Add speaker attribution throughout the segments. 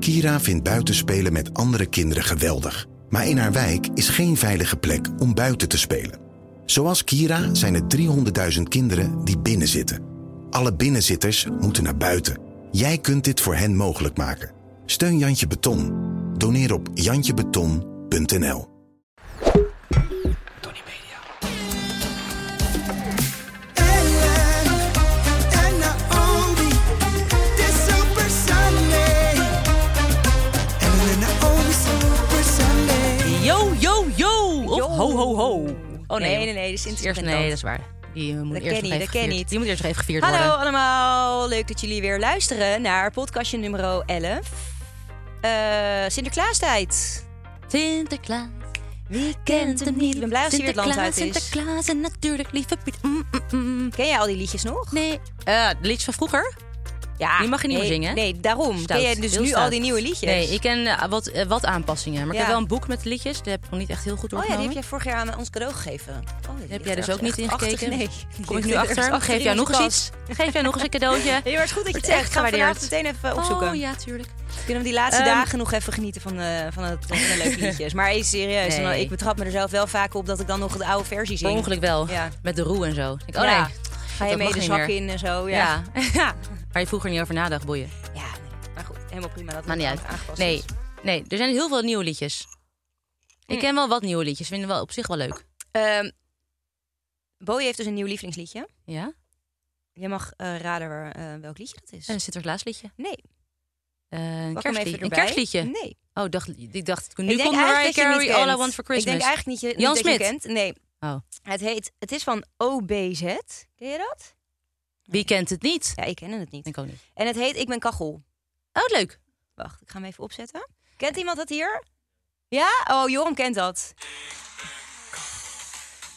Speaker 1: Kira vindt buitenspelen met andere kinderen geweldig. Maar in haar wijk is geen veilige plek om buiten te spelen. Zoals Kira zijn er 300.000 kinderen die binnenzitten. Alle binnenzitters moeten naar buiten. Jij kunt dit voor hen mogelijk maken. Steun Jantje Beton. Doneer op jantjebeton.nl
Speaker 2: Anna Obi, this Super Sunday. Anna Obi, Super Sunday.
Speaker 3: Yo, yo, yo! Of
Speaker 4: Yo.
Speaker 3: ho, ho ho. Oh
Speaker 4: Nee, nee, nee, dat is
Speaker 3: eerst,
Speaker 4: intermittent.
Speaker 3: nee, dat is waar. Die eh, moet
Speaker 4: Dat
Speaker 3: eerst nog
Speaker 4: ken niet,
Speaker 3: even
Speaker 4: dat ken
Speaker 3: gevierd-
Speaker 4: niet.
Speaker 3: Die moet eerst nog even gevierd
Speaker 4: Hallo
Speaker 3: worden.
Speaker 4: allemaal, leuk dat jullie weer luisteren naar podcastje nummer 11. Eh Sinterklaastijd.
Speaker 3: Sinterklaas.
Speaker 4: Wie kent hem niet? Ik ben blij als hij weer het land uit is.
Speaker 3: Sinterklaas en natuurlijk lieve Piet. Mm, mm, mm.
Speaker 4: Ken jij al die liedjes nog?
Speaker 3: Nee. Eh, de liedjes van vroeger?
Speaker 4: Ja,
Speaker 3: Die mag je niet
Speaker 4: nee,
Speaker 3: meer zingen, hè?
Speaker 4: Nee, daarom.
Speaker 3: Stout.
Speaker 4: Ken jij dus
Speaker 3: Heel
Speaker 4: nu
Speaker 3: stout.
Speaker 4: al die nieuwe liedjes?
Speaker 3: Nee, ik ken eh, wat, eh, wat aanpassingen. Maar ik
Speaker 4: Ja.
Speaker 3: heb wel een boek met liedjes. Die heb ik nog niet echt heel goed
Speaker 4: Oh ja, die
Speaker 3: doorgenomen.
Speaker 4: heb jij vorig jaar aan ons cadeau gegeven. Oh, die
Speaker 3: Daar heb
Speaker 4: ligt
Speaker 3: jij dus
Speaker 4: er
Speaker 3: ook niet
Speaker 4: echt achter.
Speaker 3: ingekeken.
Speaker 4: Nee.
Speaker 3: Kom ik nu achter? Geef jij nog eens iets? Geef jij nog eens een cadeautje?
Speaker 4: Heel erg goed dat je het
Speaker 3: Wordt
Speaker 4: zegt.
Speaker 3: echt
Speaker 4: Ik ga hem
Speaker 3: gewaardeerd.
Speaker 4: vanavond meteen even opzoeken.
Speaker 3: Oh ja, tuurlijk.
Speaker 4: Kunnen we die laatste
Speaker 3: Ehm,
Speaker 4: dagen nog even genieten van, eh, van, het, van de leuke liedjes. Maar even serieus,
Speaker 3: Nee.
Speaker 4: dan- ik betrap me er zelf wel vaak op dat ik dan nog de oude versie
Speaker 3: Per
Speaker 4: zing.
Speaker 3: ongeluk wel.
Speaker 4: Ja.
Speaker 3: Met de roe en zo. Ik, denk, oh
Speaker 4: Ja.
Speaker 3: nee.
Speaker 4: Ga je
Speaker 3: dat
Speaker 4: mee
Speaker 3: mag
Speaker 4: de
Speaker 3: niet
Speaker 4: zak
Speaker 3: meer.
Speaker 4: in en zo. Ja.
Speaker 3: Ja.
Speaker 4: ja.
Speaker 3: Waar je vroeger niet over nadacht, boeien.
Speaker 4: nee. Maar goed, helemaal prima dat het
Speaker 3: Maakt niet uit.
Speaker 4: aangepast
Speaker 3: Nee,
Speaker 4: is.
Speaker 3: nee, er zijn heel veel nieuwe liedjes. Ik ken wel wat nieuwe liedjes. Vinden wel op zich wel leuk.
Speaker 4: Ehm, Bowie heeft dus een nieuw lievelingsliedje.
Speaker 3: Ja?
Speaker 4: Jij mag eh, raden waar, eh, welk liedje dat is.
Speaker 3: Een Sinterklaasliedje.
Speaker 4: Nee,
Speaker 3: Eh, een,
Speaker 4: pak hem
Speaker 3: kerstliedje.
Speaker 4: even
Speaker 3: een
Speaker 4: erbij.
Speaker 3: kerstliedje.
Speaker 4: Nee.
Speaker 3: Oh, ik dacht, ik dacht, nu
Speaker 4: ik denk
Speaker 3: komt
Speaker 4: eigenlijk
Speaker 3: Mariah
Speaker 4: dat je hem
Speaker 3: Carey
Speaker 4: niet
Speaker 3: All I
Speaker 4: kent.
Speaker 3: Want For
Speaker 4: Ik
Speaker 3: Christmas.
Speaker 4: denk eigenlijk niet, je,
Speaker 3: Jan
Speaker 4: niet dat
Speaker 3: Smit.
Speaker 4: je hem kent. Nee.
Speaker 3: Oh.
Speaker 4: Het, heet, het is van OBZ. Ken je dat?
Speaker 3: Wie kent het niet?
Speaker 4: Ja, ik ken het niet.
Speaker 3: Ik ook niet.
Speaker 4: En het heet Ik ben kachel.
Speaker 3: Oh, leuk.
Speaker 4: Wacht, ik ga hem even opzetten. Kent iemand dat hier? Ja? Oh, Joram kent dat.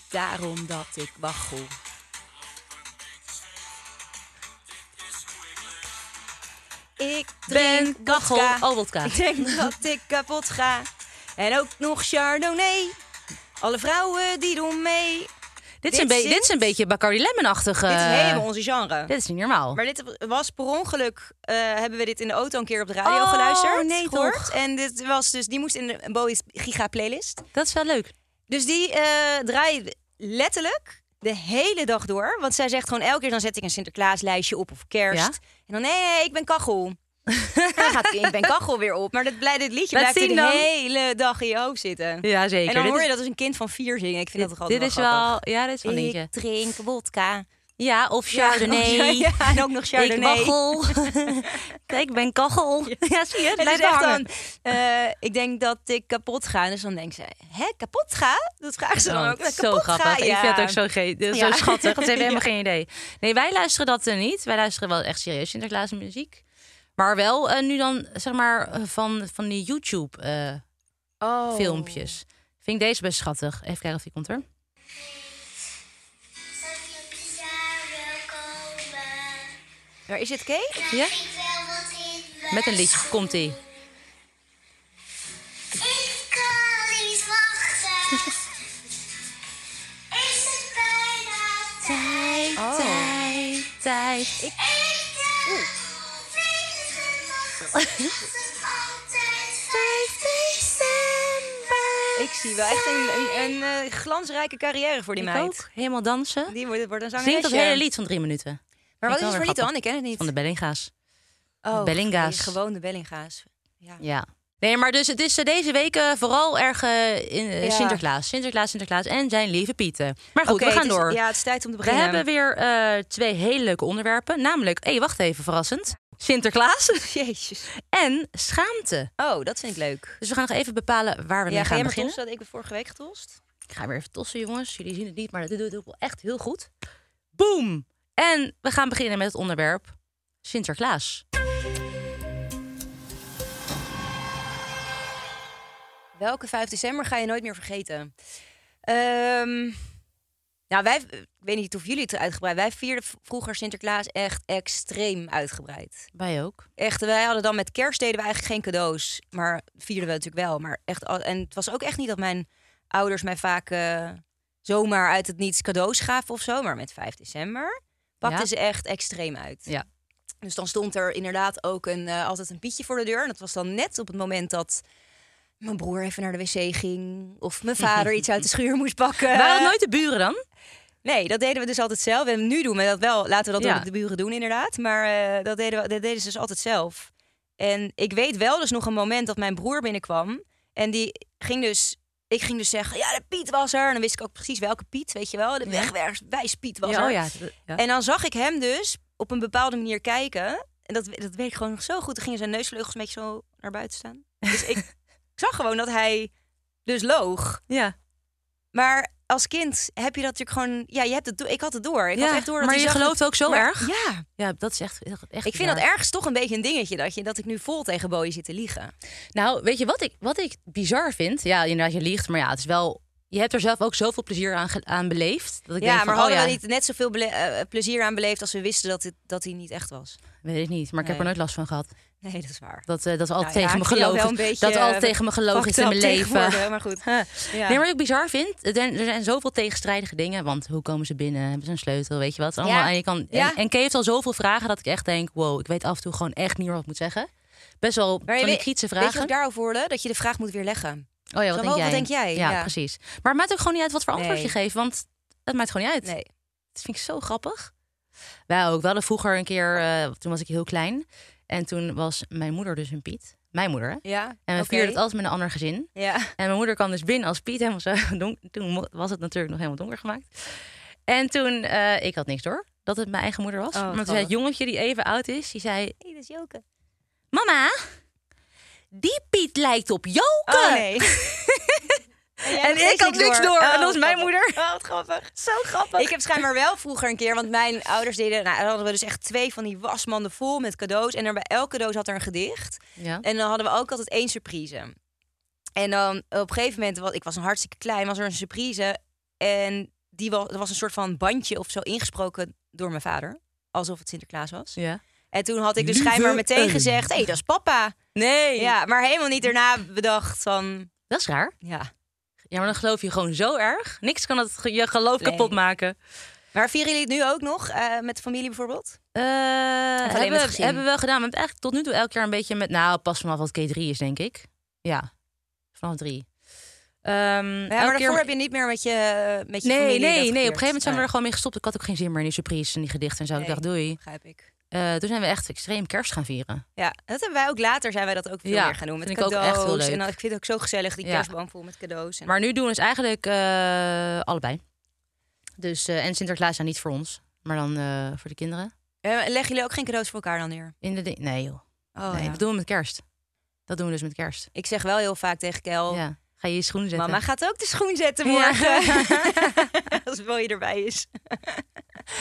Speaker 4: Daarom dat ik waggel. Ik drink
Speaker 3: Ben kachel.
Speaker 4: vodka.
Speaker 3: Oh, wodka.
Speaker 4: Ik denk dat ik kapot ga. En ook nog Chardonnay. Alle vrouwen die doen mee.
Speaker 3: Dit, is een
Speaker 4: Dit
Speaker 3: be- dit is een
Speaker 4: zit-
Speaker 3: beetje Bacardi Lemon-achtig.
Speaker 4: Dit is
Speaker 3: eh,
Speaker 4: helemaal onze genre.
Speaker 3: Dit is niet normaal.
Speaker 4: Maar dit was per ongeluk, eh, hebben we dit in de auto een keer op de radio
Speaker 3: Oh,
Speaker 4: geluisterd.
Speaker 3: nee,
Speaker 4: gehoord.
Speaker 3: toch?
Speaker 4: En dit was dus, die moest in de Bowie's Giga playlist.
Speaker 3: Dat is wel leuk.
Speaker 4: Dus die eh draaide letterlijk de hele dag door. Want zij zegt gewoon elke keer, dan zet ik een Sinterklaaslijstje op of kerst.
Speaker 3: Ja.
Speaker 4: En dan, nee, nee, ik ben kachel. en dan gaat ik ben kachel weer op. Maar dat blij, dit liedje
Speaker 3: Laat
Speaker 4: blijft
Speaker 3: zien
Speaker 4: de
Speaker 3: dan.
Speaker 4: hele dag in je hoofd zitten.
Speaker 3: Ja, zeker.
Speaker 4: En dan
Speaker 3: Dit
Speaker 4: hoor
Speaker 3: is-
Speaker 4: je dat als een kind van vier zingen. Ik vind dat toch
Speaker 3: Dit
Speaker 4: altijd
Speaker 3: is
Speaker 4: grappig.
Speaker 3: wel... Ja, dit is wel een dingetje.
Speaker 4: Ik drink wodka.
Speaker 3: Ja, of Chardonnay.
Speaker 4: Ja, ja, en ook nog Chardonnay.
Speaker 3: Ik waggel. ik ben kachel. Ja, zie je? Het
Speaker 4: Het is
Speaker 3: blijft
Speaker 4: echt
Speaker 3: hangen.
Speaker 4: dan, eh, ik denk dat ik kapot ga. Dus dan denkt ze, hè, kapot ga? Dat vragen ze dan
Speaker 3: Oh,
Speaker 4: ook.
Speaker 3: het is zo
Speaker 4: Kapot ga?
Speaker 3: grappig. Ik
Speaker 4: Ja.
Speaker 3: vind het ook zo, ge- dat is
Speaker 4: Ja.
Speaker 3: zo schattig. Dat ze hebben helemaal
Speaker 4: Ja.
Speaker 3: geen idee. Nee, wij luisteren dat eh, niet. Wij luisteren wel echt serieus Sinterklaas muziek. Maar wel eh, nu dan, zeg maar, eh, van, van die YouTube-filmpjes. Oh. Vind ik deze best schattig. Even kijken of die komt er.
Speaker 4: Waar is het, Kee?
Speaker 3: Ja? Met een liedje. Komt die.
Speaker 5: Ik kan niet wachten. Is het bijna tijd?
Speaker 4: Oh.
Speaker 3: Tijd, tijd.
Speaker 5: Ik dacht, vreselijk wachten. Het is altijd 5 december.
Speaker 4: Oh, Ik zie wel echt een, een, een eh, glansrijke carrière voor die
Speaker 3: Ik
Speaker 4: meid.
Speaker 3: ook. Helemaal dansen.
Speaker 4: Die wordt, wordt een zangeresje.
Speaker 3: Zingt dat hele lied van drie minuten.
Speaker 4: Maar wat
Speaker 3: Vind
Speaker 4: is
Speaker 3: ik
Speaker 4: het
Speaker 3: wel
Speaker 4: voor lied
Speaker 3: weer
Speaker 4: dan? Ik ken het niet.
Speaker 3: Van de Bellinga's.
Speaker 4: oh,
Speaker 3: Bellinga's.
Speaker 4: die Gewoon de Bellinga's. Ja.
Speaker 3: Ja. Nee, maar dus het is eh, deze week eh, vooral erg eh, in, eh,
Speaker 4: Ja.
Speaker 3: Sinterklaas. Sinterklaas, Sinterklaas en zijn lieve Pieten. Maar goed,
Speaker 4: Oké,
Speaker 3: we gaan
Speaker 4: het is-
Speaker 3: door.
Speaker 4: Ja, het is tijd om te
Speaker 3: we
Speaker 4: beginnen.
Speaker 3: hebben weer eh, twee hele leuke onderwerpen. Namelijk, hé, wacht even, verrassend. Sinterklaas
Speaker 4: Jezus.
Speaker 3: en schaamte.
Speaker 4: Oh, dat vind ik leuk.
Speaker 3: Dus we gaan nog even bepalen waar we
Speaker 4: Ja,
Speaker 3: mee
Speaker 4: ga
Speaker 3: gaan
Speaker 4: jij maar
Speaker 3: beginnen.
Speaker 4: tosten? Ik ben vorige week getost.
Speaker 3: Ik ga weer even tossen, jongens. Jullie zien het niet, maar dit doet het wel echt heel goed. Boom! En we gaan beginnen met het onderwerp Sinterklaas.
Speaker 4: Welke 5 december ga je nooit meer vergeten? Ehm, nou, wij, ik weet niet of jullie het uitgebreid. Wij vierden v- vroeger Sinterklaas echt extreem uitgebreid.
Speaker 3: Wij ook.
Speaker 4: Echt, wij hadden dan met kerst deden we eigenlijk geen cadeaus, maar vierden we natuurlijk wel. Maar echt, al- en het was ook echt niet dat mijn ouders mij vaak eh, zomaar uit het niets cadeaus gaven of zo. Maar met 5 december pakten
Speaker 3: Ja.
Speaker 4: ze echt extreem uit.
Speaker 3: Ja.
Speaker 4: Dus dan stond er inderdaad ook een, eh, altijd een pietje voor de deur. En dat was dan net op het moment dat mijn broer even naar de wc ging. Of mijn vader iets uit de schuur moest pakken.
Speaker 3: Waren het nooit de buren dan?
Speaker 4: Nee, dat deden we dus altijd zelf. En nu doen we dat wel. Laten we dat
Speaker 3: Ja.
Speaker 4: door de buren doen, inderdaad. Maar eh, dat, deden we, dat deden ze dus altijd zelf. En ik weet wel dus nog een moment dat mijn broer binnenkwam. En die ging dus... Ik ging dus zeggen, ja, de Piet was er. En dan wist ik ook precies welke Piet, weet je wel. De wegwijs Piet was
Speaker 3: Ja,
Speaker 4: er.
Speaker 3: oh ja. ja.
Speaker 4: En dan zag ik hem dus op een bepaalde manier kijken. En dat, dat weet ik gewoon nog zo goed. Toen gingen zijn neusvleugels een beetje zo naar buiten staan. Dus ik, ik zag gewoon dat hij dus loog.
Speaker 3: ja.
Speaker 4: Maar als kind heb je dat natuurlijk gewoon... Ja, je hebt het, do- ik had het door. Ik
Speaker 3: Ja,
Speaker 4: had echt door dat
Speaker 3: maar
Speaker 4: hij
Speaker 3: je
Speaker 4: zag dat-
Speaker 3: gelooft ook zo
Speaker 4: Maar-
Speaker 3: erg?
Speaker 4: Ja,
Speaker 3: Ja, dat is echt, echt echt
Speaker 4: ik vind
Speaker 3: raar.
Speaker 4: dat ergens toch een beetje een dingetje. Dat, je, dat ik nu vol tegen Bowie zit te liegen.
Speaker 3: Nou, weet je wat ik, wat ik bizar vind? Ja, inderdaad, je liegt, maar ja, het is wel... Je hebt er zelf ook zoveel plezier aan, ge- aan beleefd. Dat ik
Speaker 4: ja,
Speaker 3: denk van,
Speaker 4: maar
Speaker 3: oh
Speaker 4: hadden
Speaker 3: ja,
Speaker 4: we niet net zoveel bele- eh, plezier aan beleefd... als we wisten dat, het, dat hij niet echt was?
Speaker 3: Weet ik niet, maar ik heb er
Speaker 4: Nee.
Speaker 3: nooit last van gehad.
Speaker 4: Nee, dat is waar.
Speaker 3: Dat, eh, dat is
Speaker 4: Nou
Speaker 3: altijd
Speaker 4: ja,
Speaker 3: tegen
Speaker 4: ik
Speaker 3: me
Speaker 4: zie jou wel
Speaker 3: gelogen.
Speaker 4: een beetje,
Speaker 3: Dat altijd
Speaker 4: eh,
Speaker 3: tegen me gelogen is in
Speaker 4: fucked
Speaker 3: mijn
Speaker 4: up
Speaker 3: leven.
Speaker 4: tegenwoordig, Maar goed. Ja.
Speaker 3: Nee, maar wat ik bizar vind, er zijn, er zijn zoveel tegenstrijdige dingen. Want hoe komen ze binnen? Hebben ze een sleutel? Weet je wat? Allemaal.
Speaker 4: Ja.
Speaker 3: En, je kan,
Speaker 4: Ja.
Speaker 3: en, en Kay heeft al zoveel vragen dat ik echt denk... wow, ik weet af en toe gewoon echt niet meer wat ik moet zeggen. Best wel
Speaker 4: Maar
Speaker 3: van die
Speaker 4: weet-
Speaker 3: kritische
Speaker 4: Weet je
Speaker 3: vragen.
Speaker 4: wat ik daarover hoorde? Dat je de vraag moet weerleggen.
Speaker 3: oh ja, wat,
Speaker 4: Zo,
Speaker 3: denk
Speaker 4: wat
Speaker 3: jij?
Speaker 4: denk jij?
Speaker 3: Ja,
Speaker 4: Ja.
Speaker 3: precies. Maar het maakt ook gewoon niet uit wat voor antwoord je
Speaker 4: Nee.
Speaker 3: geeft. Want het maakt gewoon niet uit.
Speaker 4: Nee.
Speaker 3: Dat vind ik zo grappig. Wij ook. We hadden vroeger een keer... eh, toen was ik heel klein. En toen was mijn moeder dus een Piet. Mijn moeder, hè?
Speaker 4: Ja.
Speaker 3: En we
Speaker 4: oké.
Speaker 3: vierden het altijd met een ander gezin.
Speaker 4: Ja.
Speaker 3: En mijn moeder kwam dus binnen als Piet helemaal zo donker. Toen mo- was het natuurlijk nog helemaal donker gemaakt. En toen, eh, ik had niks door dat het mijn eigen moeder was.
Speaker 4: Oh,
Speaker 3: maar toen zei
Speaker 4: grappig.
Speaker 3: het jongetje die even oud is, die zei...
Speaker 4: Hey, dat is Joke.
Speaker 3: Mama, die Piet lijkt op Joke.
Speaker 4: Oh nee.
Speaker 3: En ik had niks door. en dat was mijn moeder.
Speaker 4: Oh, wat grappig. Zo grappig. Ik heb schijnbaar wel vroeger een keer, want mijn ouders deden... Nou, dan hadden we dus echt twee van die wasmanden vol met cadeaus. En er bij elk cadeau zat er een gedicht.
Speaker 3: Ja.
Speaker 4: En dan hadden we ook altijd één surprise. En dan op een gegeven moment, want ik was een hartstikke klein, was er een surprise. En die was, er was een soort van bandje of zo ingesproken door mijn vader. Alsof het Sinterklaas was.
Speaker 3: ja.
Speaker 4: En toen had ik dus
Speaker 1: Lieve
Speaker 4: schijnbaar meteen
Speaker 1: Ellie.
Speaker 4: gezegd, hé, hey, dat is papa.
Speaker 3: Nee.
Speaker 4: Ja, maar helemaal niet daarna bedacht van,
Speaker 3: Dat is raar.
Speaker 4: ja.
Speaker 3: Ja, maar dan geloof je gewoon zo erg. Niks kan het, ge- je geloof
Speaker 4: Nee.
Speaker 3: kapot maken.
Speaker 4: Maar vieren jullie het nu ook nog eh, met de familie bijvoorbeeld?
Speaker 3: Eh,
Speaker 4: met
Speaker 3: hebben, we-
Speaker 4: gezin?
Speaker 3: hebben we wel gedaan. We hebben het eigenlijk tot nu toe elk jaar een beetje met... Nou, pas vanaf wat K3 is, denk ik. Ja, vanaf drie. Ehm, elk
Speaker 4: Ja, maar daarvoor
Speaker 3: keer-
Speaker 4: heb je niet meer met je, met je
Speaker 3: Nee,
Speaker 4: familie
Speaker 3: nee, nee. Op
Speaker 4: dat
Speaker 3: een
Speaker 4: gevierd.
Speaker 3: gegeven moment zijn we
Speaker 4: Nee,
Speaker 3: er gewoon mee gestopt. Ik had ook geen zin meer in die surprise en die gedichten en zo. Ik
Speaker 4: Nee.
Speaker 3: dacht, doei.
Speaker 4: Begrijp ik.
Speaker 3: Eh, toen zijn we echt extreem kerst gaan vieren.
Speaker 4: Ja, dat hebben wij ook later zijn wij dat ook veel
Speaker 3: Ja,
Speaker 4: meer gaan doen. Met
Speaker 3: vind ik ook
Speaker 4: cadeaus.
Speaker 3: echt heel leuk.
Speaker 4: En dan, ik vind het ook zo gezellig, die
Speaker 3: Ja.
Speaker 4: kerstboom vol met cadeaus. En...
Speaker 3: Maar nu doen we dus eigenlijk eh, allebei. Dus, eh, en Sinterklaas zijn niet voor ons, maar dan eh, voor de kinderen.
Speaker 4: Eh, leggen jullie ook geen cadeaus voor elkaar dan neer?
Speaker 3: In de ding- nee joh,
Speaker 4: Oh,
Speaker 3: nee,
Speaker 4: ja.
Speaker 3: dat doen we met kerst. Dat doen we dus met kerst.
Speaker 4: Ik zeg wel heel vaak tegen Kel,
Speaker 3: Ja. Ga je je schoenen zetten?
Speaker 4: Oh. mama gaat ook de schoen zetten
Speaker 3: Ja.
Speaker 4: morgen. Als Boy erbij is.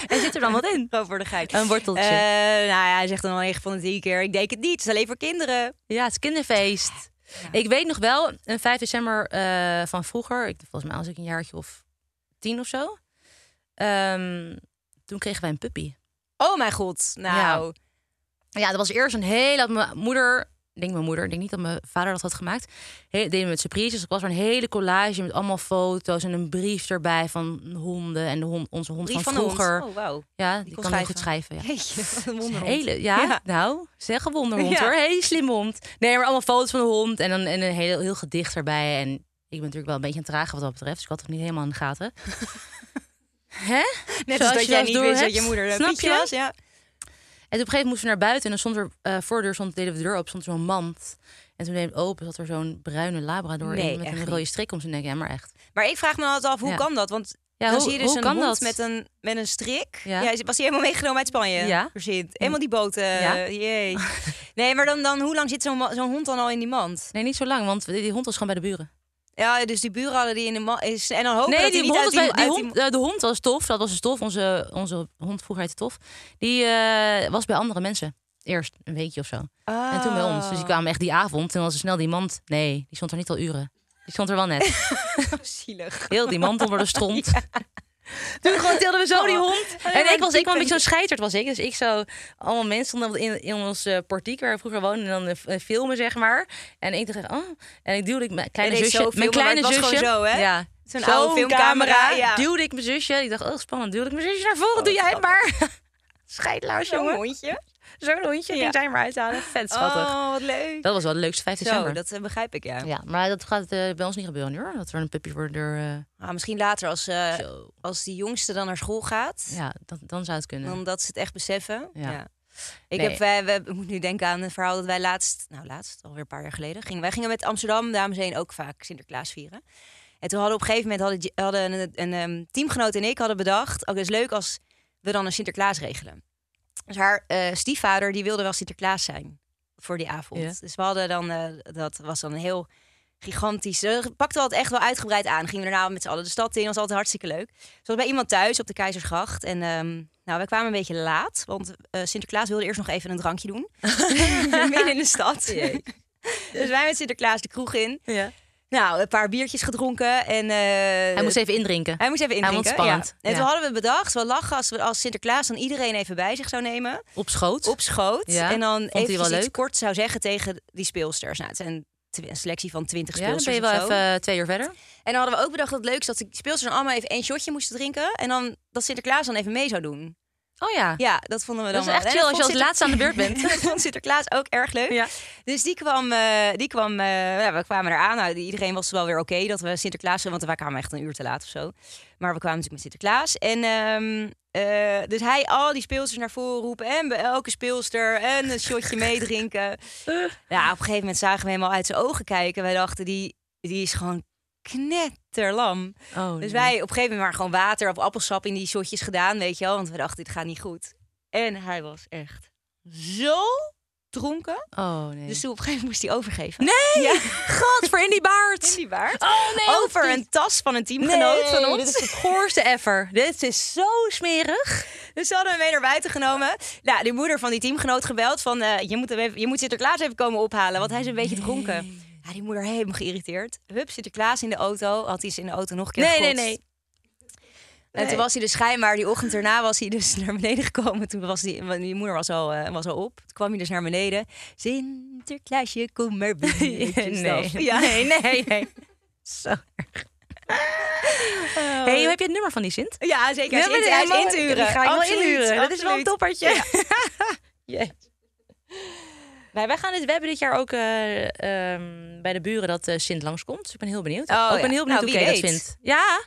Speaker 3: En zit er dan wat in?
Speaker 4: Gewoon voor de geit.
Speaker 3: Een worteltje.
Speaker 4: Eh, nou ja, hij zegt dan al echt van de tien keer, ik denk het niet, het is alleen voor kinderen.
Speaker 3: Ja, het is kinderfeest. Ik weet nog wel, een 5 december eh, van vroeger, ik, volgens mij was ik een jaartje of tien of zo. Ehm, toen kregen wij een puppy.
Speaker 4: Oh mijn god, nou.
Speaker 3: Ja, dat was eerst een hele... had Mijn moeder, ik denk mijn moeder, ik denk niet dat mijn vader dat had gemaakt. He, deden we met surprises. Dus ik was er een hele collage met allemaal foto's en een brief erbij van honden. En de hond, onze hond
Speaker 4: Brief
Speaker 3: van,
Speaker 4: van de hond.
Speaker 3: vroeger.
Speaker 4: Oh, wauw.
Speaker 3: Ja, die,
Speaker 4: kon
Speaker 3: kan heel goed schrijven. Ja.
Speaker 4: Jeetje, wat een wonderhond.
Speaker 3: Hele, ja,
Speaker 4: Ja.
Speaker 3: nou, zeg een wonderhond
Speaker 4: Ja.
Speaker 3: hoor. Hele slim hond. Nee, maar allemaal foto's van de hond en, dan, en een heel, heel gedicht erbij. En ik ben natuurlijk wel een beetje een trager wat dat betreft. Dus ik had het niet helemaal in de gaten. Hè?
Speaker 4: Net
Speaker 3: Zoals
Speaker 4: als dat
Speaker 3: je
Speaker 4: jij
Speaker 3: wel eens
Speaker 4: niet wist dat
Speaker 3: doorhebt.
Speaker 4: je moeder een
Speaker 3: Snap
Speaker 4: pietje
Speaker 3: je?
Speaker 4: was. Ja.
Speaker 3: En op een gegeven moment moesten we naar buiten. En dan stond er eh, voor de deur, stond, deden we de deur open, stond er zo'n mand. En toen deed ik open, zat er zo'n bruine labrador
Speaker 4: Nee,
Speaker 3: in met
Speaker 4: echt
Speaker 3: een
Speaker 4: niet.
Speaker 3: rode strik om zijn nek. Ja, maar echt.
Speaker 4: Maar ik vraag me altijd af, hoe
Speaker 3: Ja.
Speaker 4: kan dat? Want
Speaker 3: Ja,
Speaker 4: dan
Speaker 3: hoe-
Speaker 4: zie je dus
Speaker 3: hoe
Speaker 4: een
Speaker 3: kan
Speaker 4: hond
Speaker 3: dat?
Speaker 4: Met, een, met een strik.
Speaker 3: Ja.
Speaker 4: Ja. was die helemaal meegenomen uit Spanje?
Speaker 3: Ja.
Speaker 4: Verzint. Helemaal die boten.
Speaker 3: Ja.
Speaker 4: Jee. Nee, maar dan, dan hoe lang zit zo'n ma- zo'n hond dan al in die mand?
Speaker 3: Nee, niet zo lang, want die hond was gewoon bij de buren.
Speaker 4: Ja, dus die buren hadden die in de mand. Is, en dan hopen
Speaker 3: nee,
Speaker 4: dat die,
Speaker 3: die
Speaker 4: niet
Speaker 3: hond,
Speaker 4: uit
Speaker 3: was
Speaker 4: die,
Speaker 3: bij- die
Speaker 4: uit
Speaker 3: hond, eh, de hond was tof. Dat was dus tof. Onze, onze hond vroeger heette tof. Die eh, was bij andere mensen. Eerst Ah. een weekje of zo. En toen bij ons. Dus die kwamen echt die avond. En was er snel die mand. Nee, die stond er niet al uren. Die stond er wel net. Oh,
Speaker 4: Zielig.
Speaker 3: Heel die mand onder de stront. Toen gewoon tilden we zo die hond.
Speaker 4: Alleen
Speaker 3: En
Speaker 4: maar
Speaker 3: ik was, ik was een
Speaker 4: diepe-
Speaker 3: beetje zo'n scheiterd was ik. Dus ik zo, allemaal mensen stonden in, in ons eh, portiek waar we vroeger woonden. En dan eh, f- eh, filmen, zeg maar. En ik dacht, oh. En ik duwde ik mijn kleine
Speaker 4: deed
Speaker 3: zusje.
Speaker 4: zo
Speaker 3: mijn
Speaker 4: filmen, maar
Speaker 3: kleine
Speaker 4: het was
Speaker 3: zusje.
Speaker 4: gewoon zo, hè?
Speaker 3: Ja.
Speaker 4: Zo'n oude filmcamera, ja.
Speaker 3: Duwde ik mijn zusje. Ik dacht, oh spannend. Duwde ik mijn zusje naar voren. Doe jij het maar. Scheidlaars,
Speaker 4: Zo'n
Speaker 3: jongen.
Speaker 4: hondje.
Speaker 3: Zo'n hondje.
Speaker 4: Ja.
Speaker 3: Ging zij maar uithalen. Vet schattig.
Speaker 4: Oh, wat leuk.
Speaker 3: Dat was wel het leukste 5
Speaker 4: Zo,
Speaker 3: december.
Speaker 4: dat eh, begrijp ik, ja.
Speaker 3: Ja, maar dat gaat eh, bij ons niet gebeuren nu hoor. Dat er een puppy wordt er. eh,
Speaker 4: Ah, misschien later, als, eh,
Speaker 3: zo.
Speaker 4: als die jongste dan naar school gaat,
Speaker 3: Ja, dat, dan zou het kunnen.
Speaker 4: dan dat ze het echt beseffen.
Speaker 3: Ja.
Speaker 4: Ja. Ik,
Speaker 3: Nee.
Speaker 4: heb, wij, wij- ik moet nu denken aan een verhaal dat wij laatst, nou laatst, alweer een paar jaar geleden, gingen. Wij gingen met Amsterdam, dames heen, ook vaak Sinterklaas vieren. En toen hadden op een gegeven moment hadden, J- hadden een, een, ehm, teamgenoot en ik hadden bedacht, ook is leuk als we dan een Sinterklaas regelen. Dus haar eh, stiefvader die wilde wel Sinterklaas zijn voor die avond.
Speaker 3: Ja.
Speaker 4: Dus we hadden dan, eh, dat was dan een heel gigantisch. Ze pakten we het echt wel uitgebreid aan. Gingen we daarna met z'n allen de stad in. was altijd hartstikke leuk. Zoals bij iemand thuis op de Keizersgracht. En ehm, nou, wij kwamen een beetje laat. Want eh, Sinterklaas wilde eerst nog even een drankje doen. Midden in de stad. dus wij met Sinterklaas de kroeg in.
Speaker 3: Ja.
Speaker 4: Nou, een paar biertjes gedronken. En, eh,
Speaker 3: Hij moest even indrinken.
Speaker 4: hij moest even
Speaker 3: Hij vond
Speaker 4: indrinken.
Speaker 3: het spannend,
Speaker 4: Ja.
Speaker 3: ja.
Speaker 4: En toen hadden we bedacht, we lachen als, we, als Sinterklaas dan iedereen even bij zich zou nemen
Speaker 3: Op schoot.
Speaker 4: op schoot.
Speaker 3: Ja,
Speaker 4: En dan
Speaker 3: vond hij
Speaker 4: even iets
Speaker 3: wel leuk?
Speaker 4: kort zou zeggen tegen die speelsters. Nou, het zijn tw- een selectie van twintig
Speaker 3: ja, dan
Speaker 4: speelsters
Speaker 3: ben je wel
Speaker 4: of zo.
Speaker 3: even eh, twee uur verder.
Speaker 4: En dan hadden we ook bedacht dat het leuk is dat de speelsters dan allemaal even één shotje moesten drinken. En dan dat Sinterklaas dan even mee zou doen.
Speaker 3: Oh ja.
Speaker 4: Ja, dat vonden we dan
Speaker 3: Dat is
Speaker 4: wel.
Speaker 3: echt
Speaker 4: En
Speaker 3: chill als
Speaker 4: vond
Speaker 3: je als
Speaker 4: Sinter-
Speaker 3: laatste aan de beurt bent.
Speaker 4: dat vond Sinterklaas ook erg leuk.
Speaker 3: Ja.
Speaker 4: Dus die kwam, eh, die kwam eh, ja, we kwamen eraan. Nou, iedereen was wel weer oké dat we Sinterklaas, want wij kwamen echt een uur te laat of zo. Maar we kwamen natuurlijk met Sinterklaas. En ehm, eh, dus hij al die speelsters naar voren roepen en bij elke speelster en een shotje meedrinken. Ja, op een gegeven moment zagen we hem al uit zijn ogen kijken. Wij dachten, die, die is gewoon knetterlam.
Speaker 3: Oh,
Speaker 4: Dus wij op een gegeven moment maar gewoon water of appelsap in die shotjes gedaan, weet je wel. Want we dachten, dit gaat niet goed. En hij was echt zo dronken.
Speaker 3: Oh nee.
Speaker 4: Dus
Speaker 3: Dus
Speaker 4: toen op een gegeven moment moest hij overgeven. Nee! Ja,
Speaker 3: God, voor in die baard.
Speaker 4: in die waard.
Speaker 3: Oh nee.
Speaker 4: Over een tas van een teamgenoot van ons.
Speaker 3: Dit is het goorste ever. Dit is zo smerig.
Speaker 4: Dus ze hadden hem mee naar buiten genomen. Nou, de moeder van die teamgenoot gebeld van... eh, je, moet hem even, je moet Sinterklaas even komen ophalen, want hij is een beetje dronken. Ja, die moeder helemaal geïrriteerd. Hup, Sinterklaas in de auto. Had hij ze in de auto nog een keer
Speaker 3: Nee, nee,
Speaker 4: gekotst.
Speaker 3: nee.
Speaker 4: En toen was hij dus schijnbaar, die ochtend daarna was hij dus naar beneden gekomen. Toen was die, want die moeder was al, eh, was al op. Toen kwam hij dus naar beneden. Sinterklaasje, kom maar binnen.
Speaker 3: Nee.
Speaker 4: Ja.
Speaker 3: nee, nee, nee. Zo erg. hey, hoe heb je het nummer van die Sint?
Speaker 4: ja, zeker. Hij is
Speaker 3: maar
Speaker 4: in, hij is
Speaker 3: helemaal-
Speaker 4: in te huren.
Speaker 3: die ga ik wel
Speaker 4: Absoluut,
Speaker 3: inhuren. Dat is wel een
Speaker 4: absoluut.
Speaker 3: toppertje. Wij, wij, gaan dit, wij hebben dit jaar ook eh, ehm, bij de buren dat eh, Sint langskomt. Dus ik ben heel benieuwd.
Speaker 4: Oh,
Speaker 3: Oh, ik ben
Speaker 4: ja.
Speaker 3: heel benieuwd
Speaker 4: Nou,
Speaker 3: hoe
Speaker 4: wie
Speaker 3: Kay dat
Speaker 4: weet.
Speaker 3: vindt. Ja,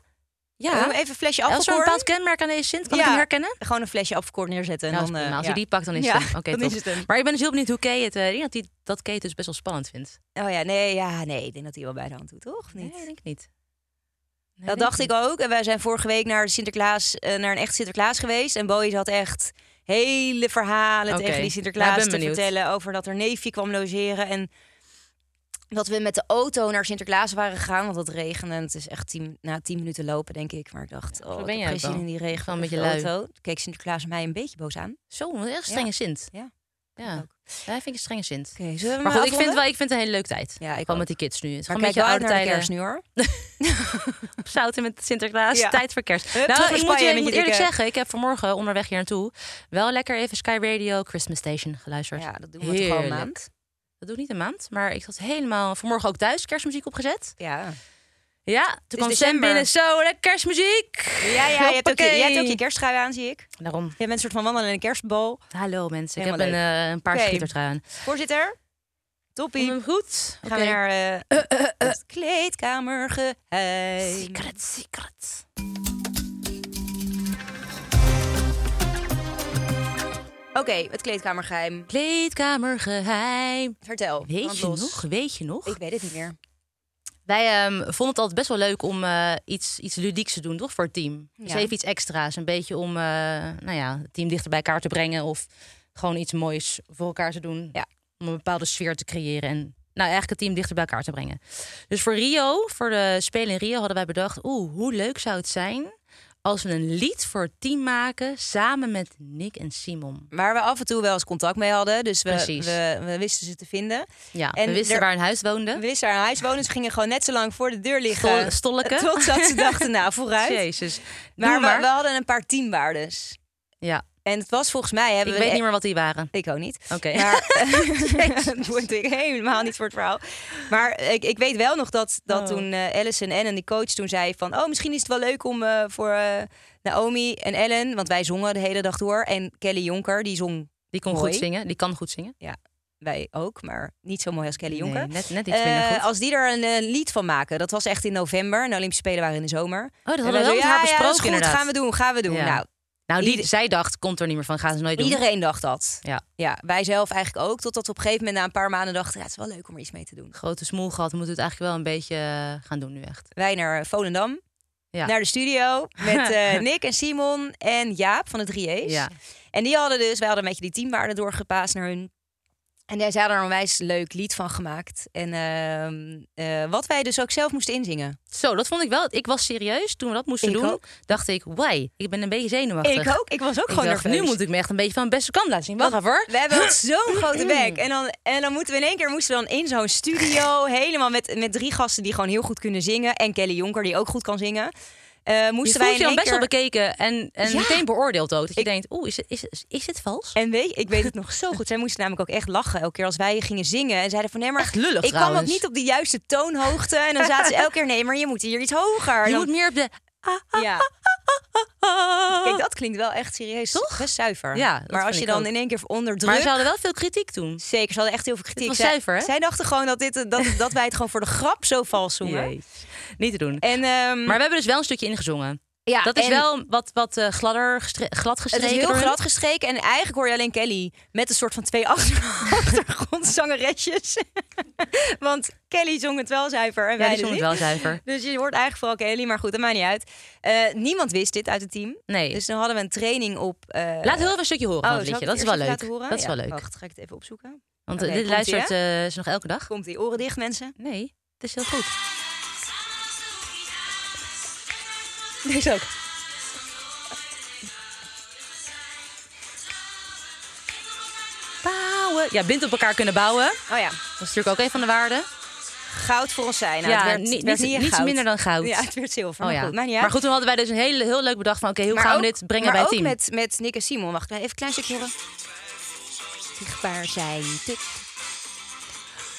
Speaker 3: ja.
Speaker 4: Doen we Even een flesje
Speaker 3: Als er een
Speaker 4: afgekoord.
Speaker 3: bepaald kenmerk aan deze Sint, kan
Speaker 4: Ja.
Speaker 3: ik hem herkennen?
Speaker 4: Gewoon een flesje afgekoord neerzetten. En
Speaker 3: Nou,
Speaker 4: dan,
Speaker 3: dat is
Speaker 4: eh,
Speaker 3: prima. Als
Speaker 4: ja.
Speaker 3: je die pakt, dan is
Speaker 4: Ja,
Speaker 3: het hem. Oké,
Speaker 4: dan
Speaker 3: top.
Speaker 4: is het hem.
Speaker 3: Maar ik ben dus heel benieuwd hoe Kay het... eh, ik denk dat, die, dat Kay het dus best wel spannend vindt.
Speaker 4: Oh ja, nee, ja, nee, ik denk dat hij wel bij de hand doet, toch? Of niet?
Speaker 3: Nee, ik denk ik niet. Nee,
Speaker 4: dat
Speaker 3: denk
Speaker 4: dacht
Speaker 3: niet.
Speaker 4: ik ook. En wij zijn vorige week naar, de Sinterklaas, eh, naar een echt Sinterklaas geweest. En Bowie had echt hele verhalen
Speaker 3: Oké.
Speaker 4: tegen die
Speaker 3: Nou, ik
Speaker 4: Sinterklaas
Speaker 3: ben
Speaker 4: te
Speaker 3: benieuwd.
Speaker 4: vertellen. Over dat er neefje kwam logeren. En dat we met de auto naar Sinterklaas waren gegaan. Want het regende. En het is echt tien, na tien minuten lopen, denk ik. Maar ik dacht, oh, ik
Speaker 3: ben
Speaker 4: heb
Speaker 3: jij
Speaker 4: geen
Speaker 3: ook
Speaker 4: zin
Speaker 3: wel.
Speaker 4: in die regen
Speaker 3: Gewoon een
Speaker 4: met je
Speaker 3: beetje lui.
Speaker 4: auto. Toen keek Sinterklaas mij een beetje boos aan.
Speaker 3: Zo, wat een echt strenge Sint.
Speaker 4: Ja.
Speaker 3: Ja,
Speaker 4: Ook.
Speaker 3: hij vind ik een strenge Sint.
Speaker 4: Oké, zullen we
Speaker 3: Maar
Speaker 4: hem
Speaker 3: goed, ik vind,
Speaker 4: afronden?
Speaker 3: wel, ik vind het een hele leuke tijd.
Speaker 4: Ja, ik
Speaker 3: Gewoon met
Speaker 4: ook.
Speaker 3: die kids nu. Het is
Speaker 4: Maar
Speaker 3: gewoon een
Speaker 4: kijk
Speaker 3: beetje
Speaker 4: wel
Speaker 3: oude
Speaker 4: uit naar de
Speaker 3: tijden.
Speaker 4: kerst nu, hoor.
Speaker 3: zouten met Sinterklaas.
Speaker 4: Ja.
Speaker 3: Tijd voor kerst.
Speaker 4: Hup, terug
Speaker 3: nou,
Speaker 4: naar
Speaker 3: ik moet
Speaker 4: Spanje
Speaker 3: je
Speaker 4: met
Speaker 3: moet
Speaker 4: je
Speaker 3: eerlijk
Speaker 4: dikke-
Speaker 3: zeggen, ik heb vanmorgen onderweg hier naartoe wel lekker even Sky Radio Christmas Station geluisterd.
Speaker 4: Ja, dat doen we toch gewoon een
Speaker 3: Heerlijk.
Speaker 4: maand.
Speaker 3: Dat doe ik niet een maand, maar ik had helemaal vanmorgen ook thuis kerstmuziek opgezet.
Speaker 4: Ja.
Speaker 3: Ja, toen kwam Sam
Speaker 4: december.
Speaker 3: binnen, zo lekker kerstmuziek.
Speaker 4: Ja, ja je, hebt ook je,
Speaker 3: Hoppakee.
Speaker 4: je hebt ook je kersttrui aan, zie ik.
Speaker 3: Daarom,
Speaker 4: Je bent een soort van wandelen in een kerstbal.
Speaker 3: hallo mensen, ik
Speaker 4: Helemaal
Speaker 3: heb een, eh, een paar
Speaker 4: Oké.
Speaker 3: schittertrui aan.
Speaker 4: Voorzitter, toppie.
Speaker 3: Vond je hem goed?
Speaker 4: gaan we naar eh het kleedkamergeheim.
Speaker 3: Secret, secret.
Speaker 4: Oké, het kleedkamergeheim.
Speaker 3: Kleedkamergeheim.
Speaker 4: Vertel.
Speaker 3: Weet
Speaker 4: want
Speaker 3: je
Speaker 4: los.
Speaker 3: nog? Weet je nog?
Speaker 4: Ik weet het niet meer.
Speaker 3: Wij ehm, vonden het altijd best wel leuk om eh, iets, iets ludieks te doen, toch? Voor het team. Dus
Speaker 4: Ja.
Speaker 3: even iets extra's. Een beetje om eh, nou ja, het team dichter bij elkaar te brengen. Of gewoon iets moois voor elkaar te doen.
Speaker 4: Ja.
Speaker 3: Om een bepaalde sfeer te creëren. En nou, eigenlijk het team dichter bij elkaar te brengen. Dus voor Rio, voor de Spelen in Rio, hadden wij bedacht... Oeh, hoe leuk zou het zijn als we een lied voor het team maken samen met Nick en Simon.
Speaker 4: Waar we af en toe wel eens contact mee hadden. Dus we,
Speaker 3: Precies.
Speaker 4: we, we wisten ze te vinden.
Speaker 3: Ja,
Speaker 4: En
Speaker 3: we wisten
Speaker 4: er-
Speaker 3: waar hun huis woonde.
Speaker 4: We wisten haar huis wonen. Ze gingen gewoon net zo lang voor de deur liggen.
Speaker 3: Stol- stolken.
Speaker 4: Tot dat ze dachten, nou, vooruit.
Speaker 3: Jezus.
Speaker 4: Maar,
Speaker 3: Noem maar.
Speaker 4: We, we hadden een paar teamwaardes.
Speaker 3: Ja,
Speaker 4: En het was volgens mij... Hebben
Speaker 3: ik
Speaker 4: we
Speaker 3: weet niet meer wat die waren.
Speaker 4: Ik ook niet.
Speaker 3: Oké.
Speaker 4: Maar dat word ik helemaal niet voor het verhaal. Maar ik, ik weet wel nog dat, dat
Speaker 3: Oh.
Speaker 4: toen eh, Alice en Ellen, die coach, toen zei van... Oh, misschien is het wel leuk om eh, voor eh, Naomi en Ellen... Want wij zongen de hele dag door. En Kelly Jonker, die zong
Speaker 3: Die kon
Speaker 4: Mooi.
Speaker 3: goed zingen. Die kan goed zingen.
Speaker 4: wij ook, maar niet zo mooi als Kelly
Speaker 3: Nee,
Speaker 4: Jonker.
Speaker 3: net, net iets minder
Speaker 4: Eh,
Speaker 3: goed.
Speaker 4: als die er een eh, lied van maken, dat was echt in november. En De Olympische Spelen waren in de zomer.
Speaker 3: Oh, dat
Speaker 4: En
Speaker 3: hadden we
Speaker 4: wij
Speaker 3: wel
Speaker 4: zo,
Speaker 3: met
Speaker 4: ja,
Speaker 3: haar
Speaker 4: Ja, dat
Speaker 3: besproken,
Speaker 4: is goed,
Speaker 3: inderdaad.
Speaker 4: gaan we doen, gaan we doen.
Speaker 3: Ja.
Speaker 4: Nou,
Speaker 3: nou, die,
Speaker 4: ieder-
Speaker 3: zij dacht, komt er niet meer van, gaan ze nooit doen.
Speaker 4: iedereen dacht dat.
Speaker 3: Ja,
Speaker 4: Ja, wij zelf eigenlijk ook. Totdat we op een gegeven moment na een paar maanden dachten... Ja, het is wel leuk om er iets mee te doen.
Speaker 3: grote smoel gehad. Moeten we het eigenlijk wel een beetje eh, gaan doen nu echt.
Speaker 4: wij naar eh, Volendam.
Speaker 3: Ja.
Speaker 4: Naar de studio met eh, Nick en Simon en Jaap van de 3E's.
Speaker 3: Ja.
Speaker 4: En die hadden dus, wij hadden een beetje die teamwaarden doorgepaasd naar hun. En daar hadden er een wijs leuk lied van gemaakt. En ehm, eh, wat wij dus ook zelf moesten inzingen.
Speaker 3: Zo, dat vond ik wel. Ik was serieus. Toen we dat moesten
Speaker 4: Ik
Speaker 3: doen,
Speaker 4: ook.
Speaker 3: dacht ik, why? Ik ben een beetje zenuwachtig.
Speaker 4: ook, ik was ook
Speaker 3: Ik dacht, nu moet ik me echt een beetje van mijn beste kant laten zien. Wacht even hoor.
Speaker 4: We hebben ook zo'n grote bek. En dan, en dan moeten we in één keer moesten we dan in zo'n studio. Helemaal met, met drie gasten die gewoon heel goed kunnen zingen. En Kelly Jonker die ook goed kan zingen. Eh,
Speaker 3: Je
Speaker 4: moesten wij
Speaker 3: voelt
Speaker 4: in
Speaker 3: je dan
Speaker 4: één
Speaker 3: best
Speaker 4: keer...
Speaker 3: wel bekeken en, en
Speaker 4: Ja.
Speaker 3: meteen beoordeeld ook. Dat je
Speaker 4: Ik-
Speaker 3: denkt, oeh, is, het- is, is, is dit vals?
Speaker 4: En weet, ik weet het nog zo goed. Zij moesten namelijk ook echt lachen elke keer als wij gingen zingen. En zeiden van nee, maar
Speaker 3: Echt lullig
Speaker 4: ik kwam ook
Speaker 3: trouwens.
Speaker 4: niet op de juiste toonhoogte. En dan zaten ze elke keer nee, maar je moet hier iets hoger.
Speaker 3: je
Speaker 4: Dan-
Speaker 3: moet meer op de...
Speaker 4: ja. Kijk, dat klinkt wel echt serieus.
Speaker 3: Toch?
Speaker 4: Best zuiver.
Speaker 3: Ja, dat
Speaker 4: maar als
Speaker 3: vind
Speaker 4: je
Speaker 3: ik
Speaker 4: dan
Speaker 3: ook.
Speaker 4: in één keer onder druk...
Speaker 3: Maar ze hadden wel veel kritiek toen.
Speaker 4: Zeker, ze hadden echt heel veel kritiek.
Speaker 3: was
Speaker 4: Zij-
Speaker 3: zuiver, hè?
Speaker 4: Zij dachten gewoon dat, dit, dat, dat wij het gewoon voor de grap zo vals zongen.
Speaker 3: Jezus. Niet te doen.
Speaker 4: En, ehm,
Speaker 3: Maar we hebben dus wel een stukje ingezongen.
Speaker 4: ja,
Speaker 3: dat is
Speaker 4: en
Speaker 3: wel wat, wat eh, gladder, gestre- glad
Speaker 4: Het
Speaker 3: gestreken.
Speaker 4: is heel
Speaker 3: door hun.
Speaker 4: glad gestreken. En eigenlijk hoor je alleen Kelly met een soort van twee achter- achtergrondzangeresjes. Want Kelly zong het wel zuiver en
Speaker 3: Ja,
Speaker 4: wij
Speaker 3: die
Speaker 4: dus
Speaker 3: zong het
Speaker 4: niet.
Speaker 3: wel zuiver.
Speaker 4: Dus je hoort eigenlijk vooral Kelly, maar goed, dat maakt niet uit. Eh, niemand wist dit uit het team.
Speaker 3: Nee.
Speaker 4: Dus dan hadden we een training op... eh, oh,
Speaker 3: Laat heel even een stukje horen van
Speaker 4: zal
Speaker 3: het
Speaker 4: ik
Speaker 3: liedje. Dat is
Speaker 4: eerst
Speaker 3: wel
Speaker 4: even
Speaker 3: leuk.
Speaker 4: laten horen?
Speaker 3: Dat is
Speaker 4: Ja,
Speaker 3: wel leuk.
Speaker 4: Wacht, ga ik het even opzoeken.
Speaker 3: Want
Speaker 4: Oké,
Speaker 3: eh, dit
Speaker 4: komt-ie,
Speaker 3: luistert eh, ze nog elke dag.
Speaker 4: Komt die oren dicht, mensen?
Speaker 3: Nee, het is heel goed.
Speaker 4: Deze ook.
Speaker 3: Bouwen. Ja, bind op elkaar kunnen bouwen.
Speaker 4: Oh ja,
Speaker 3: Dat is natuurlijk ook een van de waarden.
Speaker 4: goud voor ons zijn. Nou,
Speaker 3: ja,
Speaker 4: het werd,
Speaker 3: niet-
Speaker 4: het werd
Speaker 3: niet-
Speaker 4: niet echt
Speaker 3: niets
Speaker 4: goud.
Speaker 3: minder dan goud.
Speaker 4: Ja, het werd
Speaker 3: Oh
Speaker 4: zilver. maar
Speaker 3: ja.
Speaker 4: goed, maakt niet uit.
Speaker 3: maar goed, toen hadden wij dus een heel, heel leuk bedacht van... oké, hoe
Speaker 4: Maar
Speaker 3: gaan we
Speaker 4: ook-
Speaker 3: dit brengen
Speaker 4: maar
Speaker 3: bij het
Speaker 4: ook
Speaker 3: team?
Speaker 4: met, met Nick en Simon. Wacht, even een klein stukje horen. Zichtbaar zijn. Tik, eh,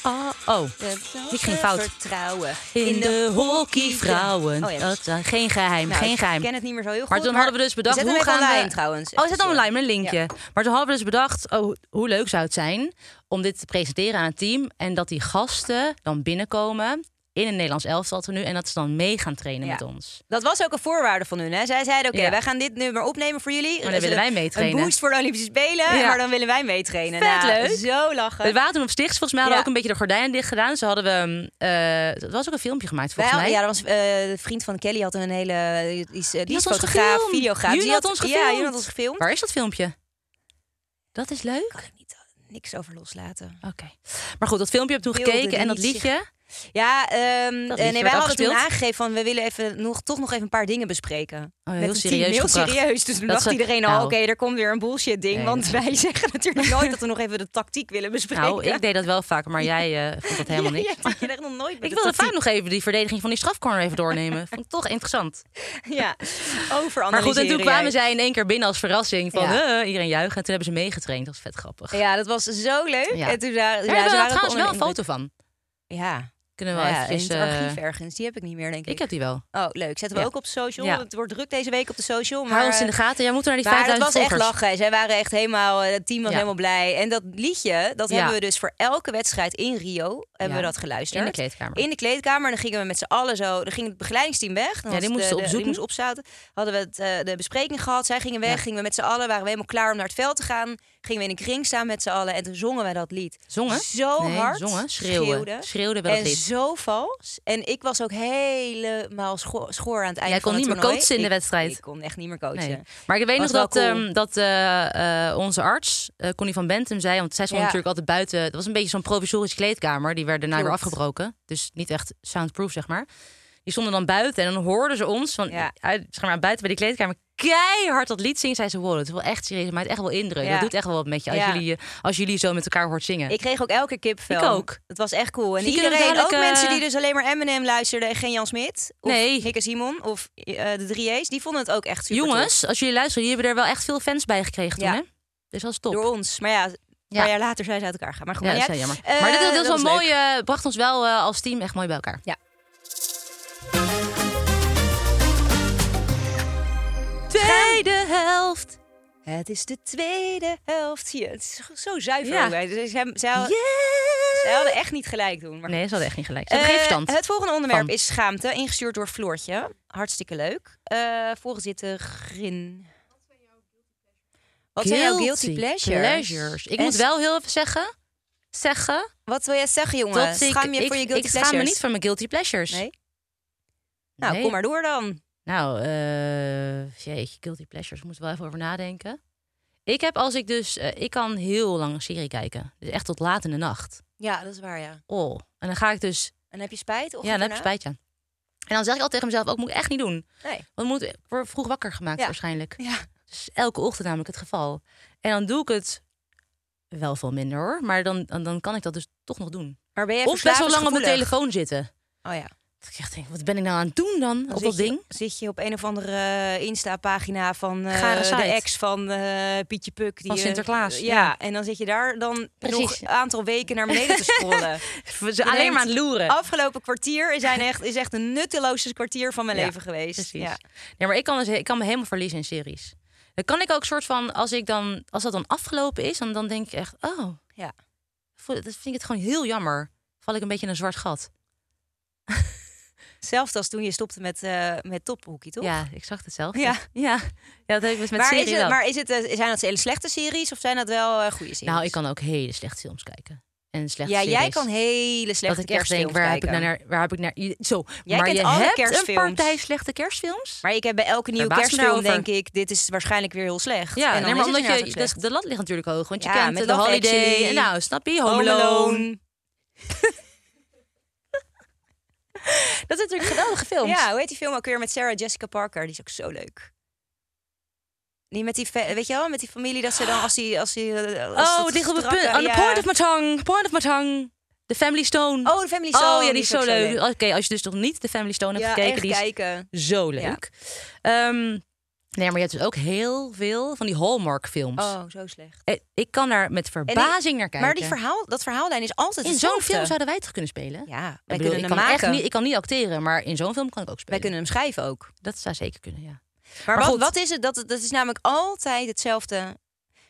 Speaker 3: Oh, oh.
Speaker 4: tik,
Speaker 3: Ik ging fout.
Speaker 4: Vertrouwen.
Speaker 3: In de hockeyvrouwen.
Speaker 4: Oh ja.
Speaker 3: Dat zijn geen geheim,
Speaker 4: Nou,
Speaker 3: geen geheim.
Speaker 4: Ik ken het niet meer zo heel goed.
Speaker 3: Maar toen hadden we dus bedacht,
Speaker 4: zet
Speaker 3: hoe
Speaker 4: hem even
Speaker 3: gaan
Speaker 4: online,
Speaker 3: we...
Speaker 4: trouwens.
Speaker 3: Oh, zet hem
Speaker 4: Sorry.
Speaker 3: online met een linkje.
Speaker 4: Ja.
Speaker 3: Maar toen hadden we dus bedacht, oh, ho- hoe leuk zou het zijn... om dit te presenteren aan het team... en dat die gasten dan binnenkomen... in een Nederlands elftal tot nu... en dat ze dan mee gaan trainen
Speaker 4: Ja.
Speaker 3: met ons.
Speaker 4: Dat was ook een voorwaarde van hun. Hè? Zij zeiden, oké,
Speaker 3: Ja.
Speaker 4: wij gaan dit nummer opnemen voor jullie.
Speaker 3: dan willen wij meetrainen.
Speaker 4: Een boost voor de Olympische Spelen,
Speaker 3: Ja.
Speaker 4: maar dan willen wij meetrainen.
Speaker 3: Vet
Speaker 4: Nou,
Speaker 3: leuk.
Speaker 4: Zo lachen.
Speaker 3: We waren toen op Stichts. Volgens mij hadden we
Speaker 4: Ja.
Speaker 3: ook een beetje de gordijnen dicht gedaan. Zo hadden we... eh er was ook een filmpje gemaakt,
Speaker 4: Wij
Speaker 3: volgens mij.
Speaker 4: hadden- Ja, dat was, eh, de vriend van Kelly had een hele... eh, Die is, eh, die is
Speaker 3: had ons
Speaker 4: fotograaf,
Speaker 3: gefilmd.
Speaker 4: videograaf.
Speaker 3: Jullie
Speaker 4: Die
Speaker 3: had ons
Speaker 4: Ja,
Speaker 3: gefilmd.
Speaker 4: jullie had ons gefilmd.
Speaker 3: Waar is dat filmpje? Dat is leuk.
Speaker 4: kan ik niet, niks over loslaten.
Speaker 3: Oké. Maar goed, dat filmpje heb ik toen
Speaker 4: Beelden
Speaker 3: gekeken en dat
Speaker 4: die zich-
Speaker 3: liedje.
Speaker 4: Ja, ehm,
Speaker 3: Dat
Speaker 4: eh,
Speaker 3: liedje
Speaker 4: nee, wij
Speaker 3: werd
Speaker 4: hadden toen
Speaker 3: afgespeeld.
Speaker 4: aangegeven van we willen even nog, toch nog even een paar dingen bespreken.
Speaker 3: Oh,
Speaker 4: Met
Speaker 3: heel
Speaker 4: het team,
Speaker 3: serieus
Speaker 4: heel
Speaker 3: gebracht.
Speaker 4: serieus. Dus toen
Speaker 3: Dat
Speaker 4: dacht
Speaker 3: ze-
Speaker 4: iedereen al,
Speaker 3: nou.
Speaker 4: oké, er komt weer een bullshit ding.
Speaker 3: Nee,
Speaker 4: want wij zeggen natuurlijk nooit dat we nog even de tactiek willen bespreken.
Speaker 3: Nou, ik deed dat wel vaker, maar jij eh vond dat helemaal
Speaker 4: Ja,
Speaker 3: niks.
Speaker 4: jij doet je echt nog nooit met
Speaker 3: Ik wilde
Speaker 4: de tactiek.
Speaker 3: vaak nog even die verdediging van die strafcorner even doornemen. Vond ik toch interessant.
Speaker 4: Ja, over
Speaker 3: Maar goed, en toen kwamen
Speaker 4: ze.
Speaker 3: zij in één keer binnen als verrassing. Van
Speaker 4: Ja.
Speaker 3: eh, iedereen juichen. En toen hebben ze meegetraind. Dat is vet grappig. Ja,
Speaker 4: Ja, dat was zo leuk.
Speaker 3: Ja.
Speaker 4: En toen daar,
Speaker 3: we hebben
Speaker 4: ze
Speaker 3: daar
Speaker 4: waren
Speaker 3: trouwens
Speaker 4: onder
Speaker 3: wel
Speaker 4: de
Speaker 3: een
Speaker 4: indruk.
Speaker 3: foto van.
Speaker 4: Ja,
Speaker 3: Kunnen we wel
Speaker 4: Nou ja
Speaker 3: eventjes...
Speaker 4: in het archief
Speaker 3: eh,
Speaker 4: ergens. Die heb ik niet meer, denk ik.
Speaker 3: ik heb die wel.
Speaker 4: Oh, leuk. Zetten we
Speaker 3: Ja.
Speaker 4: ook op social.
Speaker 3: Ja.
Speaker 4: Het wordt druk deze week op de social. Maar
Speaker 3: Hou ons in de gaten. Jij moet naar die
Speaker 4: Maar dat
Speaker 3: 5000
Speaker 4: was echt
Speaker 3: volgers.
Speaker 4: lachen. Zij waren echt helemaal, eh, het team was
Speaker 3: Ja.
Speaker 4: helemaal blij. En dat liedje, dat
Speaker 3: Ja.
Speaker 4: hebben we dus voor elke wedstrijd in Rio, hebben we dat geluisterd.
Speaker 3: In de kleedkamer.
Speaker 4: In de kleedkamer, dan gingen we met z'n allen zo, dan ging het begeleidingsteam weg. Dan
Speaker 3: Ja, die
Speaker 4: was de-
Speaker 3: moesten
Speaker 4: de-
Speaker 3: opzoeken.
Speaker 4: Die moest opzouten. Hadden we het, eh, de bespreking gehad, zij gingen weg,
Speaker 3: Ja.
Speaker 4: gingen we met z'n allen, waren we helemaal klaar om naar het veld te gaan. Gingen we in een kring staan met z'n allen en toen zongen wij dat lied.
Speaker 3: Zongen?
Speaker 4: Zo
Speaker 3: Nee,
Speaker 4: hard.
Speaker 3: zongen, schreeuwen. Schreeuwden we dat
Speaker 4: en
Speaker 3: lied.
Speaker 4: zo vals. En ik was ook helemaal scho- schoor aan het einde
Speaker 3: Jij kon
Speaker 4: van het
Speaker 3: niet meer
Speaker 4: toernooi.
Speaker 3: coachen in de
Speaker 4: Ik-
Speaker 3: wedstrijd.
Speaker 4: Ik kon echt niet meer coachen.
Speaker 3: Nee. Maar ik weet
Speaker 4: Was
Speaker 3: nog dat,
Speaker 4: wel cool.
Speaker 3: ehm, dat eh, eh, onze arts, eh, Connie van Bentum, zei... want zij stond
Speaker 4: Ja.
Speaker 3: natuurlijk altijd buiten... dat was een beetje zo'n provisorische kleedkamer. Die werd daarna weer
Speaker 4: Klopt.
Speaker 3: afgebroken. Dus niet echt soundproof, zeg maar. Die stonden dan buiten en dan hoorden ze ons van
Speaker 4: Ja.
Speaker 3: uit, zeg maar, buiten bij die kleedkamer keihard dat lied zingen. Zei ze, wow, dat is wel echt serieus. Maar het maakt echt wel indruk.
Speaker 4: Ja.
Speaker 3: Dat doet echt wel wat met je als,
Speaker 4: Ja.
Speaker 3: jullie, eh, als jullie zo met elkaar hoort zingen.
Speaker 4: Ik kreeg ook elke kipvel.
Speaker 3: Ik ook.
Speaker 4: Het was echt cool. En
Speaker 3: Dus die kunnen
Speaker 4: iedereen, ook
Speaker 3: dadelijk, eh,
Speaker 4: mensen die dus alleen maar Eminem luisterden en geen Jan Smit. Of
Speaker 3: Nee.
Speaker 4: Nick en Simon of eh, de drie A's. Die vonden het ook echt super
Speaker 3: Jongens, als jullie luisteren, jullie hebben er wel echt veel fans bij gekregen
Speaker 4: Ja.
Speaker 3: toen, hè? Dus dat is top.
Speaker 4: Door ons. Maar ja, een
Speaker 3: Ja.
Speaker 4: paar jaar later zijn ze uit elkaar gegaan. Maar goed,
Speaker 3: Ja, dat
Speaker 4: maar
Speaker 3: is
Speaker 4: ja.
Speaker 3: wel jammer.
Speaker 4: Eh,
Speaker 3: maar dit, dit
Speaker 4: dat
Speaker 3: was wel
Speaker 4: leuk.
Speaker 3: mooi, eh, bracht ons wel eh, als team echt mooi bij elkaar. Tweede helft.
Speaker 4: Het is de tweede helft. Zie je, het is zo zuiver.
Speaker 3: Ja.
Speaker 4: ook bij. Dus ze, ze,
Speaker 3: Yeah.
Speaker 4: hadden, ze hadden echt niet gelijk doen. Maar
Speaker 3: Nee, ze hadden echt niet gelijk. Ze hebben geen
Speaker 4: Eh,
Speaker 3: verstand.
Speaker 4: Het volgende onderwerp
Speaker 3: van.
Speaker 4: is schaamte, ingestuurd door Floortje. Hartstikke leuk. Eh voorzitter Wat zijn jouw guilty pleasures?
Speaker 3: pleasures? Ik
Speaker 4: En
Speaker 3: moet
Speaker 4: s-
Speaker 3: wel heel even zeggen, zeggen
Speaker 4: Wat wil jij zeggen, jongen?
Speaker 3: dat ik...
Speaker 4: Schaam je
Speaker 3: ik,
Speaker 4: voor je
Speaker 3: ik
Speaker 4: guilty pleasures?
Speaker 3: schaam me niet voor mijn guilty pleasures.
Speaker 4: Nee? Nou,
Speaker 3: Nee.
Speaker 4: kom maar door dan.
Speaker 3: Nou, eh jeetje, guilty pleasures. Ik moet er wel even over nadenken. Ik heb als ik dus... eh, ik kan heel lang een serie kijken. Dus echt tot laat in de nacht.
Speaker 4: Ja, dat is waar, ja.
Speaker 3: Oh. En dan ga ik dus...
Speaker 4: En heb je spijt? Of
Speaker 3: ja, dan heb ik spijt, ja. En dan zeg ik al tegen mezelf, ook moet ik echt niet doen.
Speaker 4: Nee.
Speaker 3: Want moet, ik word vroeg wakker gemaakt
Speaker 4: Ja.
Speaker 3: waarschijnlijk.
Speaker 4: Ja.
Speaker 3: Dus elke ochtend namelijk het geval. En dan doe ik het wel veel minder hoor. Maar dan, dan, dan kan ik dat dus toch nog doen.
Speaker 4: Maar ben je
Speaker 3: Of best wel lang op
Speaker 4: de
Speaker 3: mijn telefoon zitten.
Speaker 4: Oh ja.
Speaker 3: Dat ik echt denk, wat ben ik nou aan het doen dan,
Speaker 4: Dan
Speaker 3: op
Speaker 4: zit
Speaker 3: dat
Speaker 4: je-
Speaker 3: ding?
Speaker 4: zit je op een of andere eh, Insta-pagina van eh,
Speaker 3: Gare
Speaker 4: de
Speaker 3: site.
Speaker 4: ex van eh, Pietje Puk. Die,
Speaker 3: Van
Speaker 4: eh,
Speaker 3: Sinterklaas,
Speaker 4: ja.
Speaker 3: ja.
Speaker 4: en dan zit je daar dan nog
Speaker 3: Precies.
Speaker 4: een aantal weken naar beneden te scrollen.
Speaker 3: We zijn alleen maar aan het loeren.
Speaker 4: Afgelopen kwartier is, hij echt, is echt een nutteloze kwartier van mijn
Speaker 3: Ja,
Speaker 4: leven geweest.
Speaker 3: Precies.
Speaker 4: Ja.
Speaker 3: Nee, maar ik kan, dus, ik kan me helemaal verliezen in series. Dan kan ik ook soort van, als, ik dan, als dat dan afgelopen is, dan, dan denk ik echt, oh,
Speaker 4: Ja.
Speaker 3: voel- dat vind ik het gewoon heel jammer. Val ik een beetje in een zwart gat.
Speaker 4: Hetzelfde als toen je stopte met, eh met tophoekie, toch?
Speaker 3: Ja, ik zag hetzelfde.
Speaker 4: Ja.
Speaker 3: ja. Ja, dat heb ik dus met
Speaker 4: maar,
Speaker 3: series
Speaker 4: is het,
Speaker 3: wel.
Speaker 4: maar is het, eh, zijn dat hele slechte series of zijn dat wel eh, goede series?
Speaker 3: Nou, ik kan ook hele slechte films kijken. En slechte
Speaker 4: Ja, jij
Speaker 3: series.
Speaker 4: kan hele
Speaker 3: Dat
Speaker 4: slechte
Speaker 3: ik echt denk,
Speaker 4: kerstfilms
Speaker 3: waar heb ik,
Speaker 4: kijken.
Speaker 3: nou naar, waar heb ik naar... Zo,
Speaker 4: Jij
Speaker 3: maar
Speaker 4: kent
Speaker 3: je
Speaker 4: alle
Speaker 3: hebt een
Speaker 4: kerstfilms.
Speaker 3: partij slechte kerstfilms?
Speaker 4: Maar ik heb bij elke nieuwe
Speaker 3: Verbaas me nou
Speaker 4: kerstfilm
Speaker 3: over.
Speaker 4: denk ik, dit is waarschijnlijk weer heel slecht.
Speaker 3: Ja,
Speaker 4: en dan
Speaker 3: nee, maar
Speaker 4: is
Speaker 3: omdat
Speaker 4: het
Speaker 3: je...
Speaker 4: inderdaad ook
Speaker 3: dus
Speaker 4: slecht.
Speaker 3: de lat ligt natuurlijk hoog. Want je
Speaker 4: Ja,
Speaker 3: kent
Speaker 4: met
Speaker 3: eh, de
Speaker 4: Love
Speaker 3: Holiday.
Speaker 4: Actually,
Speaker 3: nou, snap je? Home
Speaker 4: Home
Speaker 3: Alone.
Speaker 4: Alone.
Speaker 3: Dat zijn natuurlijk geweldige films.
Speaker 4: Ja, hoe heet die film ook weer met Sarah Jessica Parker? Die is ook zo leuk. Die met die, fa- weet je wel, met die familie dat ze dan als die... Als die eh, als
Speaker 3: Oh,
Speaker 4: dat
Speaker 3: het ligt op het
Speaker 4: strakke-
Speaker 3: punt. Aan
Speaker 4: ja.
Speaker 3: de point of my tongue. Point of my tongue. The Family Stone.
Speaker 4: Oh, de Family Stone.
Speaker 3: ja, die is zo leuk. Oké, als je dus nog niet The Family Stone hebt
Speaker 4: Ja,
Speaker 3: gekeken,
Speaker 4: echt
Speaker 3: die is
Speaker 4: kijken.
Speaker 3: zo leuk. Ehm, nee, maar je hebt dus ook heel veel van die Hallmark-films.
Speaker 4: Oh, zo slecht.
Speaker 3: Eh, Ik kan daar met
Speaker 4: En die-
Speaker 3: verbazing naar kijken.
Speaker 4: Maar die verhaal, dat verhaallijn is altijd
Speaker 3: in zo'n
Speaker 4: hetzelfde.
Speaker 3: film zouden wij het kunnen spelen.
Speaker 4: Ja, wij
Speaker 3: ik, bedoel,
Speaker 4: kunnen
Speaker 3: ik
Speaker 4: hem
Speaker 3: kan echt
Speaker 4: maken.
Speaker 3: niet, ik kan niet acteren, maar in zo'n film kan ik ook spelen.
Speaker 4: Wij kunnen hem schrijven ook.
Speaker 3: Dat zou zeker kunnen, ja.
Speaker 4: Maar,
Speaker 3: Maar
Speaker 4: wat,
Speaker 3: goed.
Speaker 4: wat is het? Dat, het- dat is namelijk altijd hetzelfde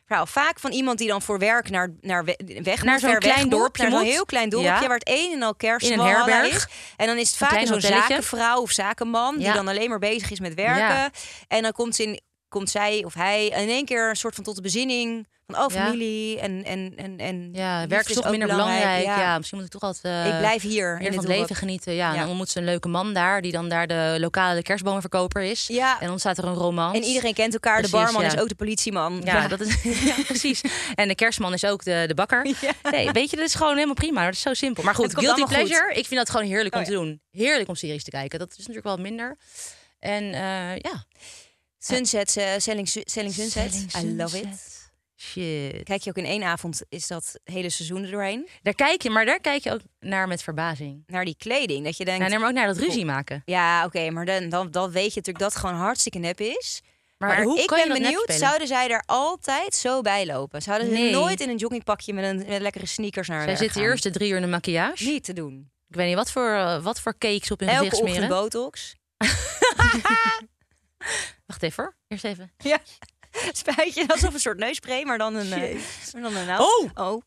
Speaker 4: verhaal. Vaak van iemand die dan voor werk naar, naar we- weg
Speaker 3: Naar
Speaker 4: moet,
Speaker 3: zo'n
Speaker 4: ver weg
Speaker 3: klein
Speaker 4: moet,
Speaker 3: dorpje
Speaker 4: Naar zo'n
Speaker 3: moet.
Speaker 4: heel klein dorpje
Speaker 3: Ja.
Speaker 4: waar het een en al kerst
Speaker 3: In een herberg.
Speaker 4: is. En dan is het
Speaker 3: Een
Speaker 4: vaak
Speaker 3: klein
Speaker 4: zo'n
Speaker 3: hotelletje.
Speaker 4: zakenvrouw of zakenman die
Speaker 3: Ja.
Speaker 4: dan alleen maar bezig is met werken.
Speaker 3: Ja.
Speaker 4: En dan komt, ze in, komt zij of hij in één keer een soort van tot de bezinning van oh
Speaker 3: Ja.
Speaker 4: familie en en en en
Speaker 3: Ja,
Speaker 4: liefde
Speaker 3: werk is toch minder belangrijk. Ja. misschien moet ik toch altijd... eh,
Speaker 4: Ik blijf hier
Speaker 3: meer
Speaker 4: in
Speaker 3: van
Speaker 4: dit
Speaker 3: het leven
Speaker 4: dorp.
Speaker 3: genieten. Ja, en
Speaker 4: Ja.
Speaker 3: dan ontmoet ze een leuke man daar, die dan daar de lokale kerstbomenverkoper is.
Speaker 4: Ja.
Speaker 3: En ontstaat er een romance.
Speaker 4: En iedereen kent elkaar. de
Speaker 3: Precies,
Speaker 4: barman
Speaker 3: ja.
Speaker 4: is ook de politieman.
Speaker 3: Ja, dat is ja, precies. En de kerstman is ook de, de bakker. Nee, weet je, dat is gewoon helemaal prima. Dat is zo simpel. Maar
Speaker 4: Het
Speaker 3: goed,
Speaker 4: komt
Speaker 3: guilty
Speaker 4: allemaal goed.
Speaker 3: pleasure. Ik vind dat gewoon heerlijk om
Speaker 4: Oh,
Speaker 3: te doen. Heerlijk om series te kijken. Dat is natuurlijk wel minder. En eh, ja.
Speaker 4: Sunset, eh, Selling, Su- Selling Sunset. I love it.
Speaker 3: Shit.
Speaker 4: Kijk je ook in één avond, is dat hele seizoen er doorheen.
Speaker 3: Daar kijk je, maar daar kijk je ook naar met verbazing.
Speaker 4: Naar die kleding, dat je denkt...
Speaker 3: Ja, nee, maar ook naar dat ruzie maken.
Speaker 4: Ja, oké, maar dan, dan, dan weet je natuurlijk dat het gewoon hartstikke nep is.
Speaker 3: Maar hoe
Speaker 4: ik
Speaker 3: kan je
Speaker 4: ben
Speaker 3: dat nep
Speaker 4: benieuwd,
Speaker 3: spelen?
Speaker 4: zouden zij er altijd zo bij lopen? Zouden ze
Speaker 3: Nee.
Speaker 4: nooit in een joggingpakje met, een, met lekkere sneakers naar
Speaker 3: Zij
Speaker 4: werk
Speaker 3: zitten
Speaker 4: gaan?
Speaker 3: eerst de drie uur in de maquillage.
Speaker 4: Niet te doen.
Speaker 3: Ik weet niet wat voor, eh, wat voor cakes op hun
Speaker 4: Elke
Speaker 3: gezicht
Speaker 4: ochtend
Speaker 3: smeren.
Speaker 4: botox.
Speaker 3: Wacht even hoor. Eerst even.
Speaker 4: Ja. Spuit je alsof een soort neuspray, maar dan een... eh, maar dan een naald.
Speaker 3: Oh!
Speaker 4: Oh.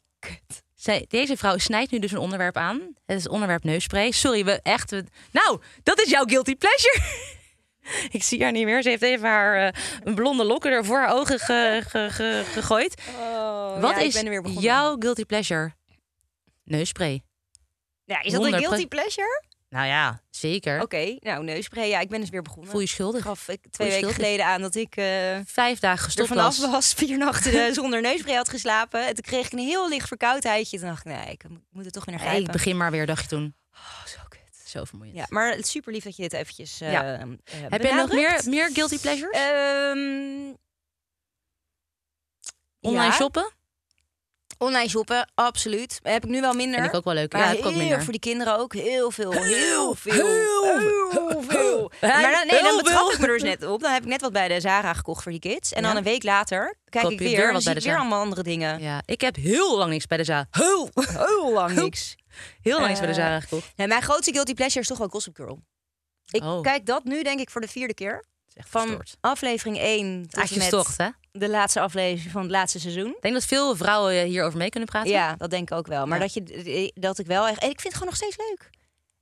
Speaker 3: Zij, deze vrouw snijdt nu dus een onderwerp aan. Het is het onderwerp neuspray. Sorry, we echt... we- nou, dat is jouw guilty pleasure. Ik zie haar niet meer. Ze heeft even haar eh, een blonde lokken er voor haar ogen ge- ge- ge- gegooid.
Speaker 4: Oh,
Speaker 3: Wat
Speaker 4: ja, ik
Speaker 3: is
Speaker 4: ben er weer begonnen.
Speaker 3: jouw guilty pleasure? Neuspray.
Speaker 4: Ja, is dat een
Speaker 3: 100%.
Speaker 4: guilty pleasure?
Speaker 3: Nou ja, zeker.
Speaker 4: Oké, nou neuspray, ja, ik ben dus weer begonnen.
Speaker 3: Voel je schuldig?
Speaker 4: gaf ik twee
Speaker 3: je
Speaker 4: weken
Speaker 3: schuld?
Speaker 4: geleden aan dat ik eh er
Speaker 3: Vijf dagen gestopt
Speaker 4: vanaf
Speaker 3: was.
Speaker 4: was, vier nachten eh, zonder neuspray had geslapen. En toen kreeg ik een heel licht verkoudheidje. Toen dacht ik, nee, ik moet- moet er toch weer naar
Speaker 3: Hey,
Speaker 4: grijpen.
Speaker 3: ik begin maar weer, dacht je toen.
Speaker 4: Oh, zo kut.
Speaker 3: Zo vermoeiend.
Speaker 4: Ja, maar het is super lief dat je dit eventjes. eh,
Speaker 3: Ja.
Speaker 4: eh,
Speaker 3: Heb jij nog
Speaker 4: benadrukt.
Speaker 3: meer, meer guilty pleasures?
Speaker 4: Ehm,
Speaker 3: Online
Speaker 4: ja.
Speaker 3: shoppen?
Speaker 4: Online shoppen, absoluut. Heb ik nu wel minder.
Speaker 3: Vind ik ook wel leuk.
Speaker 4: Maar
Speaker 3: ja, heb ik ook
Speaker 4: heel-
Speaker 3: minder.
Speaker 4: voor die kinderen ook heel veel. Heel, veel.
Speaker 3: heel,
Speaker 4: heel
Speaker 3: heel.
Speaker 4: Maar dan, nee,
Speaker 3: Heel
Speaker 4: dan betrap
Speaker 3: veel.
Speaker 4: ik me er dus net op. Dan heb ik net wat bij de Zara gekocht voor die kids. En
Speaker 3: Ja.
Speaker 4: dan een week later kijk
Speaker 3: Koop
Speaker 4: ik
Speaker 3: je
Speaker 4: weer.
Speaker 3: weer wat
Speaker 4: en dan zie
Speaker 3: bij
Speaker 4: ik
Speaker 3: de
Speaker 4: weer
Speaker 3: Zara.
Speaker 4: allemaal andere dingen.
Speaker 3: Ja, ik heb heel lang niks bij de Zara. Heel,
Speaker 4: Heel lang niks.
Speaker 3: heel lang niks bij de
Speaker 4: Eh,
Speaker 3: Zara gekocht.
Speaker 4: Nee, mijn grootste guilty pleasure is toch wel Gossip Girl. Ik
Speaker 3: Oh.
Speaker 4: kijk dat nu denk ik voor de vierde keer.
Speaker 3: Het is echt
Speaker 4: Van
Speaker 3: verstoord.
Speaker 4: aflevering 1 tot en
Speaker 3: Aadje
Speaker 4: met
Speaker 3: Stocht, hè? Ik
Speaker 4: de laatste aflevering van het laatste seizoen.
Speaker 3: denk dat veel vrouwen eh, hierover mee kunnen praten.
Speaker 4: Ja, dat denk ik ook wel. Maar
Speaker 3: Ja.
Speaker 4: dat, je, dat ik wel echt... En ik vind het gewoon nog steeds leuk.